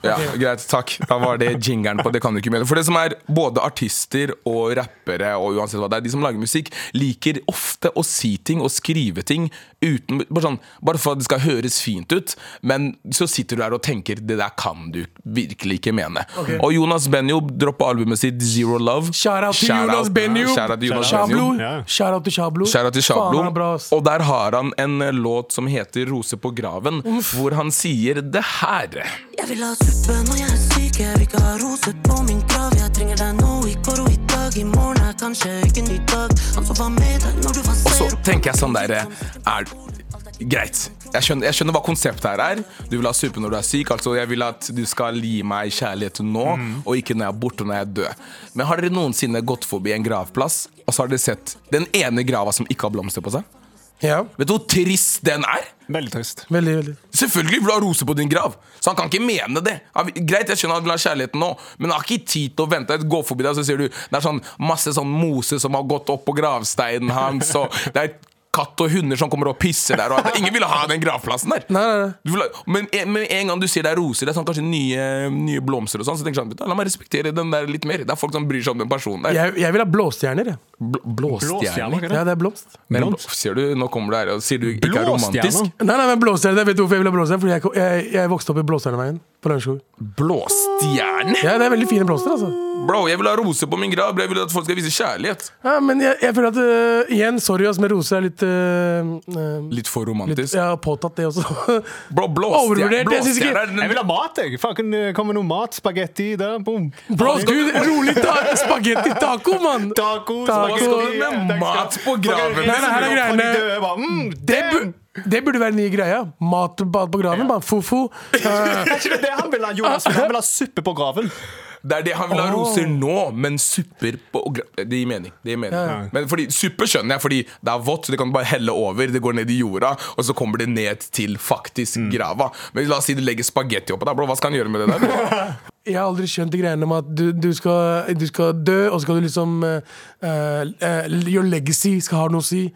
Speaker 3: Ja, Greit, takk. Da var det jingeren på Det kan du ikke mene. For det som er både artister og rappere og uansett hva det er, de som lager musikk, liker ofte å si ting og skrive ting uten Bare, sånn, bare for at det skal høres fint ut, men så sitter du der og tenker Det der kan du virkelig ikke mene. Og Jonas Benjob droppa albumet sitt Zero Love.
Speaker 2: Shout out til
Speaker 3: Shout out-
Speaker 2: Jonas Benjob!
Speaker 3: Shout out til Jonas
Speaker 4: Shout out.
Speaker 2: Shablo.
Speaker 3: Benjob.
Speaker 4: Ja.
Speaker 2: Shout out til Shablo.
Speaker 3: Shout out til Shablo.
Speaker 2: Faen, han er bra, ass.
Speaker 3: Og der har han en eh, låt som heter 'Rose på graven', hvor han sier det her.
Speaker 8: Jeg vil ha suppe når jeg er syk, jeg vil ikke ha roser på min grav. Jeg trenger deg nå, i går og i dag. I morgen er kanskje ikke en ny dag. Han som var med deg når du var
Speaker 3: Og så
Speaker 8: zero.
Speaker 3: tenker jeg sånn derre er, Greit. Jeg skjønner, jeg skjønner hva konseptet her er. Du vil ha suppe når du er syk. Altså Jeg vil at du skal gi meg kjærlighet nå, og ikke når jeg er borte og når jeg er død. Men har dere noensinne gått forbi en gravplass, og så har dere sett den ene grava som ikke har blomster på seg?
Speaker 2: Ja,
Speaker 3: Vet du hvor trist den er?
Speaker 4: Veldig trist.
Speaker 2: veldig, veldig.
Speaker 3: Selvfølgelig vil du ha roser på din grav, så han kan ikke mene det. Han, greit, jeg skjønner han vil ha kjærligheten nå, men han har ikke tid til å vente. Gå forbi deg, så ser du det er sånn masse sånn mose som har gått opp på gravsteinen hans, og det er katt og hunder som kommer og pisser der, og at ingen vil ha den gravplassen der.
Speaker 2: Nei, nei, nei.
Speaker 3: Du vil ha- Men en- med en gang du sier det er roser, det er sånn kanskje nye, nye blomster og sånn, så tenker du sånn, la meg respektere den der litt mer. Det er folk som bryr seg om den personen der.
Speaker 2: Jeg, jeg vil ha blåstjerner, jeg.
Speaker 3: Bl blåstjerne.
Speaker 2: Ja, det er blomst.
Speaker 3: Men blå- Ser du, nå kommer det her, og sier du ikke er romantisk.
Speaker 4: Blåstjerne?
Speaker 2: Nei, nei, men blåstjerner, vet du hvorfor jeg vil ha blåstjerner? Fordi jeg, ko- jeg, jeg vokste opp i Blåstjerneveien på Lørenskog.
Speaker 3: Blåstjerne?
Speaker 2: Ja, det er veldig fine blomster, altså.
Speaker 3: Bro, jeg vil ha roser på min grav. bro. Jeg vil at folk skal vise kjærlighet.
Speaker 2: Ja, men jeg, jeg føler at øh, Igjen, sorry, ass, men roser er litt øh, øh,
Speaker 3: Litt for
Speaker 2: Litt,
Speaker 3: romantisk.
Speaker 2: ja, påtatt det også.
Speaker 3: Bro, blåstjerne.
Speaker 2: Overvurdert, jeg synes ikke-
Speaker 3: blåstjerne er
Speaker 4: Jeg
Speaker 3: den-
Speaker 4: vil ha mat, jeg. Faen, Kommer noe mat? Spagetti der? Boom.
Speaker 2: Bros, du, rolig ta spagetti taco, mann!
Speaker 4: Taco,
Speaker 2: Taco.
Speaker 4: spagetti
Speaker 3: Med
Speaker 4: Takk skal-
Speaker 3: mat på graven.
Speaker 4: Spagetti.
Speaker 3: Nei,
Speaker 2: nei, her er
Speaker 4: Fra de
Speaker 2: greiene.
Speaker 4: døde, bare, mm,
Speaker 2: Det,
Speaker 4: damn.
Speaker 2: bu det burde være den nye greia. Mat bad på graven, mann. Fofo.
Speaker 4: Er ikke det det han vil ha, Jonas? Han vil ha suppe på graven.
Speaker 3: Det er det han vil ha roser nå, men supper på og gra- Det gir mening. Det gir mening. Men fordi, Suppe skjønner jeg, fordi det er vått, så det kan du bare helle over. Det går ned i jorda, og så kommer det ned til faktisk
Speaker 4: Mm.
Speaker 3: grava. Men la oss si du legger spagetti oppå der, bro. Hva skal han gjøre med det der? bro?
Speaker 2: Jeg har aldri skjønt de greiene med at du, du, skal, du skal dø, og så skal du liksom eh, eh, eh, Your legacy skal ha noe å si.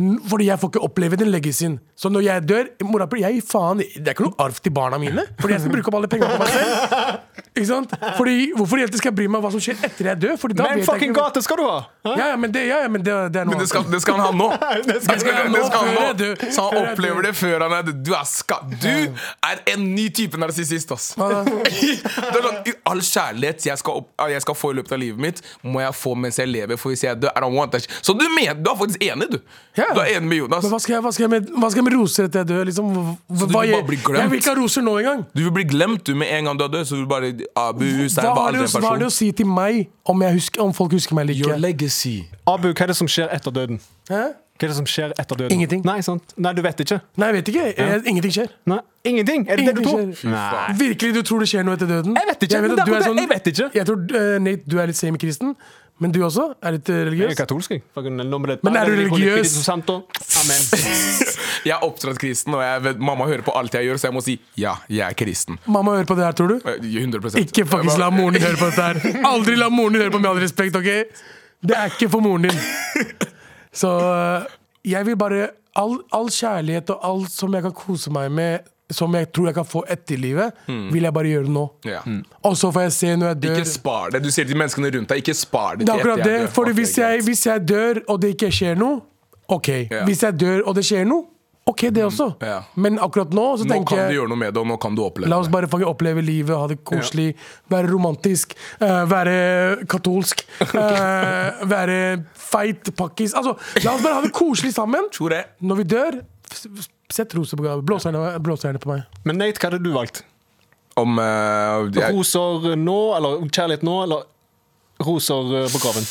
Speaker 2: N- Fordi jeg får ikke oppleve den legacyen. Så når jeg dør mora, jeg, gir faen, Det er ikke noe arv til barna mine. Fordi jeg skal bruke opp alle pengene på meg selv. Ikke sant? Fordi, hvorfor i helvete skal jeg bry meg om hva som skjer etter jeg dør? Fordi da
Speaker 4: Men
Speaker 2: vet jeg
Speaker 4: fucking
Speaker 2: ikke
Speaker 4: gate skal du ha! Hæ?
Speaker 2: ja, ja, men det, ja, ja, men det, det er noe
Speaker 3: Men
Speaker 2: annet.
Speaker 3: det skal, det skal han ha nå! Det skal,
Speaker 2: han ha
Speaker 3: det skal
Speaker 2: nå,
Speaker 3: han
Speaker 2: før jeg
Speaker 3: nå.
Speaker 2: dør.
Speaker 3: Så
Speaker 2: Før
Speaker 3: han
Speaker 2: jeg
Speaker 3: opplever
Speaker 2: dør.
Speaker 3: det før han er død. Du er ska... Du er en ny type narsissist, ass!
Speaker 2: Hva da?
Speaker 3: Det er sånn, i all kjærlighet jeg skal, opp, jeg skal få i løpet av livet mitt, må jeg få mens jeg lever, for hvis jeg dør I don't want that shit. Så du, mener, du er faktisk enig, du!
Speaker 2: Ja.
Speaker 3: Du er enig med Jonas.
Speaker 2: Men hva skal, jeg, hva, skal jeg med, hva skal jeg med roser etter jeg dør? Liksom, hva,
Speaker 3: Så du
Speaker 2: hva,
Speaker 3: vil bare bli
Speaker 2: jeg,
Speaker 3: glemt?
Speaker 2: jeg vil ikke ha roser nå engang.
Speaker 3: Du vil bli glemt du med en gang du er død. Så du vil bare Abu
Speaker 2: Hva
Speaker 3: Hussein var
Speaker 2: har,
Speaker 3: aldri
Speaker 2: det,
Speaker 3: en
Speaker 2: å- hva har det
Speaker 3: person.
Speaker 2: å si til meg om, jeg husker, om folk husker meg
Speaker 3: Your
Speaker 2: eller ikke?
Speaker 3: legacy.
Speaker 4: Abu, hva er det som skjer etter døden?
Speaker 2: Hæ?
Speaker 4: Hva er det som skjer etter døden?
Speaker 2: Ingenting.
Speaker 4: Nei, sant? Nei, du vet ikke.
Speaker 2: Nei, jeg vet ikke. Jeg, ingenting skjer.
Speaker 4: Nei. Ingenting! Er det det du tror?
Speaker 2: Ingenting skjer. Virkelig du tror det skjer noe etter døden?
Speaker 4: Jeg vet ikke, men
Speaker 2: at
Speaker 4: det er
Speaker 2: du er sånn-
Speaker 4: akkurat det, jeg vet ikke.
Speaker 2: Jeg tror, eh, Nate, du er litt semikristen, men du også er litt eh,
Speaker 4: Jeg er
Speaker 2: religiøs.
Speaker 4: katolsk, jeg. Fucking, nå må det-
Speaker 2: Men er du
Speaker 4: Nei, det litt
Speaker 2: religiøs?
Speaker 4: politisk sant, da. Amen.
Speaker 3: Jeg er oppdratt kristen, og jeg vet, mamma hører på alt jeg gjør, så jeg må si ja, jeg er kristen.
Speaker 2: Mamma hører på det her, tror du?
Speaker 3: Eh, 100
Speaker 2: Ikke fuckings la moren din høre på dette her. Aldri la moren din høre på med all respekt, ok? Det er ikke for moren din. Så øh, jeg vil bare all, all kjærlighet og alt som jeg kan kose meg med, som jeg tror jeg kan få etter livet, vil jeg bare gjøre nå.
Speaker 3: Hmm. Ja.
Speaker 2: Og så får jeg se når jeg dør.
Speaker 3: Ikke spar det. Du sier til menneskene rundt deg, ikke spar
Speaker 2: Eh,
Speaker 3: det.
Speaker 2: Det
Speaker 3: til
Speaker 2: er akkurat
Speaker 3: etter jeg
Speaker 2: det.
Speaker 3: dør.
Speaker 2: For
Speaker 3: Ok,
Speaker 2: hvis
Speaker 3: greit.
Speaker 2: jeg, hvis jeg dør, og det ikke skjer noe, OK.
Speaker 3: Ja. Hmm.
Speaker 2: Hvis jeg dør, og det skjer noe, OK, det også.
Speaker 3: Ja.
Speaker 2: Men akkurat nå så
Speaker 3: Nå
Speaker 2: tenker
Speaker 3: kan
Speaker 2: jeg
Speaker 3: du gjøre noe med det, og nå kan du oppleve
Speaker 2: La oss bare fucking oppleve livet, ha det koselig, være romantisk, eh, være katolsk, eh, være feit pakkis. Altså, la oss bare ha det koselig sammen.
Speaker 3: Tror jeg.
Speaker 2: Når vi dør, s- s- sett roser på gaven. Blåserne, blåserne på meg.
Speaker 4: Men Nate, hva hadde du valgt?
Speaker 3: Om eh, jeg,
Speaker 4: Roser nå, eller kjærlighet nå, eller roser eh, på graven?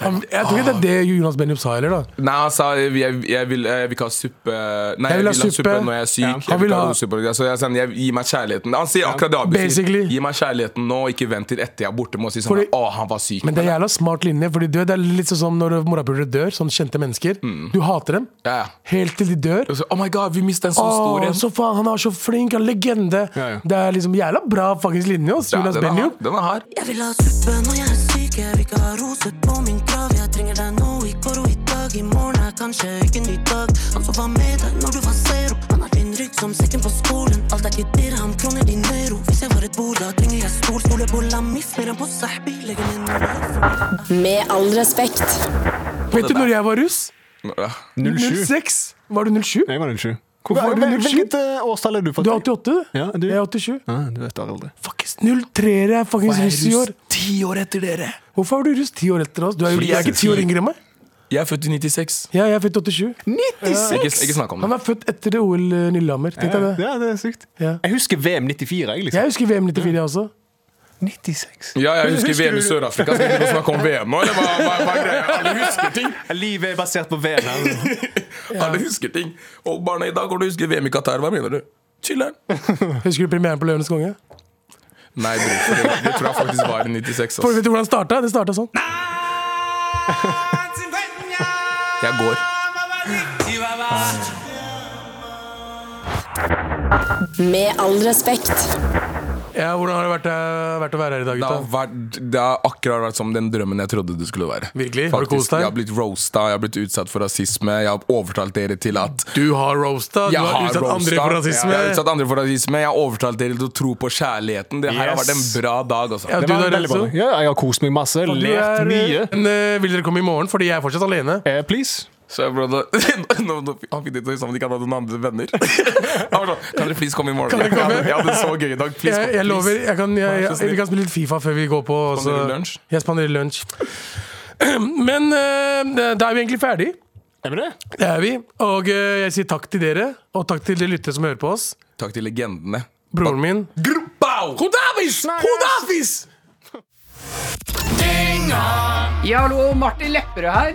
Speaker 2: Han- Jeg tror ikke det er det Jonas Benjup sa heller, da.
Speaker 3: Nei, han sa jeg, jeg, jeg, vil, eh, jeg vil ikke ha suppe Nei, jeg vil ha suppe når jeg er syk.
Speaker 4: Ja.
Speaker 3: Jeg
Speaker 2: Han
Speaker 3: vil
Speaker 2: vil
Speaker 3: ikke ha
Speaker 2: ha-
Speaker 3: rosuppe. Så jeg, sånn, jeg, gi meg kjærligheten. Han sier akkurat det Abu sier.
Speaker 2: Basically.
Speaker 3: Gi meg kjærligheten nå, ikke vent til etter jeg er borte. Må si sånn
Speaker 2: Fordi-
Speaker 3: Å, han var syk.
Speaker 2: Men det er jævla smart linje. Fordi du vet, Det er litt sånn som når morapulere dør, sånn kjente mennesker. Du hater dem
Speaker 3: Mm. Ja, ja.
Speaker 2: helt til de dør.
Speaker 3: Og så, oh my god, vi mista en sånn
Speaker 2: Åh,
Speaker 3: stor en.
Speaker 2: så faen, han er så flink, han er legende.
Speaker 4: Ja, ja.
Speaker 2: Det er liksom jævla bra faktisk linje hos
Speaker 3: Ja,
Speaker 2: Jonas
Speaker 3: den er
Speaker 2: Benjup.
Speaker 3: hard. Den er hard.
Speaker 8: Jeg vil ha suppe når jeg er syk, jeg vil ikke ha roser på min grav. Jeg trenger deg nå, i går og i dag. I morgen er kanskje ikke en ny dag. Han som var med deg når du var zero. Han har din rygg som sekken på skolen. Alt er ikke dirham, kroner dinero. Hvis jeg var et bord, da trenger jeg stol. Stole på Lamif mer enn på Sahbi. Legger min
Speaker 6: Med all respekt.
Speaker 2: Vet du når jeg var russ?
Speaker 3: Ja.
Speaker 4: 07.
Speaker 2: 06? Var du 07?
Speaker 4: Jeg var 07.
Speaker 2: Hvorfor var du
Speaker 4: Hvil-
Speaker 2: 07?
Speaker 4: Hvilket eh, årstall er du
Speaker 2: Du
Speaker 4: faktisk?
Speaker 2: er 88, du?
Speaker 4: Ja, du?
Speaker 2: Jeg er 87.
Speaker 4: Ja, du vet aldri.
Speaker 2: Fuckings 03-ere er fuckings russ i år.
Speaker 3: ti år etter dere.
Speaker 2: Hvorfor er du russ ti år etter oss? Du er jo
Speaker 3: Fordi
Speaker 2: du er
Speaker 3: jeg-
Speaker 2: ikke ti år yngre enn meg.
Speaker 3: Jeg er født i 96.
Speaker 2: Ja, jeg er født 87.
Speaker 3: Ikke, ikke snakk om
Speaker 2: Han
Speaker 3: det.
Speaker 2: er født etter OL eh, Lillehammer. Tenk deg det.
Speaker 4: Ja, det er sykt.
Speaker 2: Ja.
Speaker 4: Jeg husker VM 94, jeg, liksom.
Speaker 2: Jeg husker VM 94, jeg også.
Speaker 4: 96.
Speaker 3: Ja, jeg husker,
Speaker 4: Husker
Speaker 3: VM i
Speaker 4: du-
Speaker 3: Sør-Afrika. Skal vi begynne å snakke om VM nå, eller hva, hva, hva er greia? Alle husker ting!
Speaker 4: Livet er basert på VM. her.
Speaker 3: Alle husker ting. Og barna i dag går du husker VM i Qatar. Hva mener du? Chiller'n.
Speaker 2: Husker du premieren på Løvenes konge?
Speaker 3: Nei, bror, for det, det tror jeg faktisk var i 96.
Speaker 2: For Vet
Speaker 3: Ass.
Speaker 2: du hvordan det starta? Det starta sånn.
Speaker 3: Jeg går.
Speaker 6: Med all respekt.
Speaker 2: Ja, Hvordan har det vært, eh, vært å være her i dag,
Speaker 3: Det har,
Speaker 2: gutta?
Speaker 3: vært, det har akkurat vært som den drømmen jeg trodde det skulle være.
Speaker 2: Virkelig? Har du kost deg?
Speaker 3: Jeg har blitt roasta, jeg har blitt utsatt for rasisme. Jeg har overtalt dere til at
Speaker 2: Du har roasta. Du
Speaker 3: jeg
Speaker 2: har utsatt
Speaker 3: roasta.
Speaker 2: andre for rasisme.
Speaker 3: Jeg har utsatt andre for rasisme. Jeg har overtalt dere til å tro på kjærligheten. Det her har
Speaker 4: Yes.
Speaker 3: vært en bra dag, altså.
Speaker 2: Ja,
Speaker 4: Det
Speaker 2: du
Speaker 4: var
Speaker 2: da,
Speaker 4: veldig bra.
Speaker 2: Renzo?
Speaker 4: Ja, jeg har kost meg masse.
Speaker 2: Og du
Speaker 4: Lært
Speaker 2: er, eh,
Speaker 4: mye.
Speaker 2: en, eh, Vil dere komme i morgen? Fordi jeg er fortsatt alene.
Speaker 4: Eh, please.
Speaker 3: Så jeg prøvde nå, nå, Han fikk det til å høres ut som om de ikke hadde noen andre venner. Han var sånn Kan dere please komme i morgen?
Speaker 2: Kan dere komme?
Speaker 3: Jeg hadde det så gøy i dag. Please,
Speaker 2: Jeg,
Speaker 3: kom,
Speaker 2: jeg lover.
Speaker 3: please.
Speaker 2: Jeg kan, jeg,
Speaker 3: Vær så
Speaker 2: jeg,
Speaker 3: snill.
Speaker 2: vi kan spille litt Fifa før vi går på. og så-
Speaker 3: Spanderer lunsj?
Speaker 2: Jeg spanderer lunsj. Men eh, da da er vi egentlig ferdig.
Speaker 4: Er vi det?
Speaker 2: Det er vi. Og eh, jeg sier takk til dere, og takk til de lyttere som hører på oss.
Speaker 3: Takk til legendene.
Speaker 2: Broren min.
Speaker 3: Gruppau!
Speaker 2: Hodafis! Hodafis!
Speaker 9: Ja, hallo, Martin Lepperød her.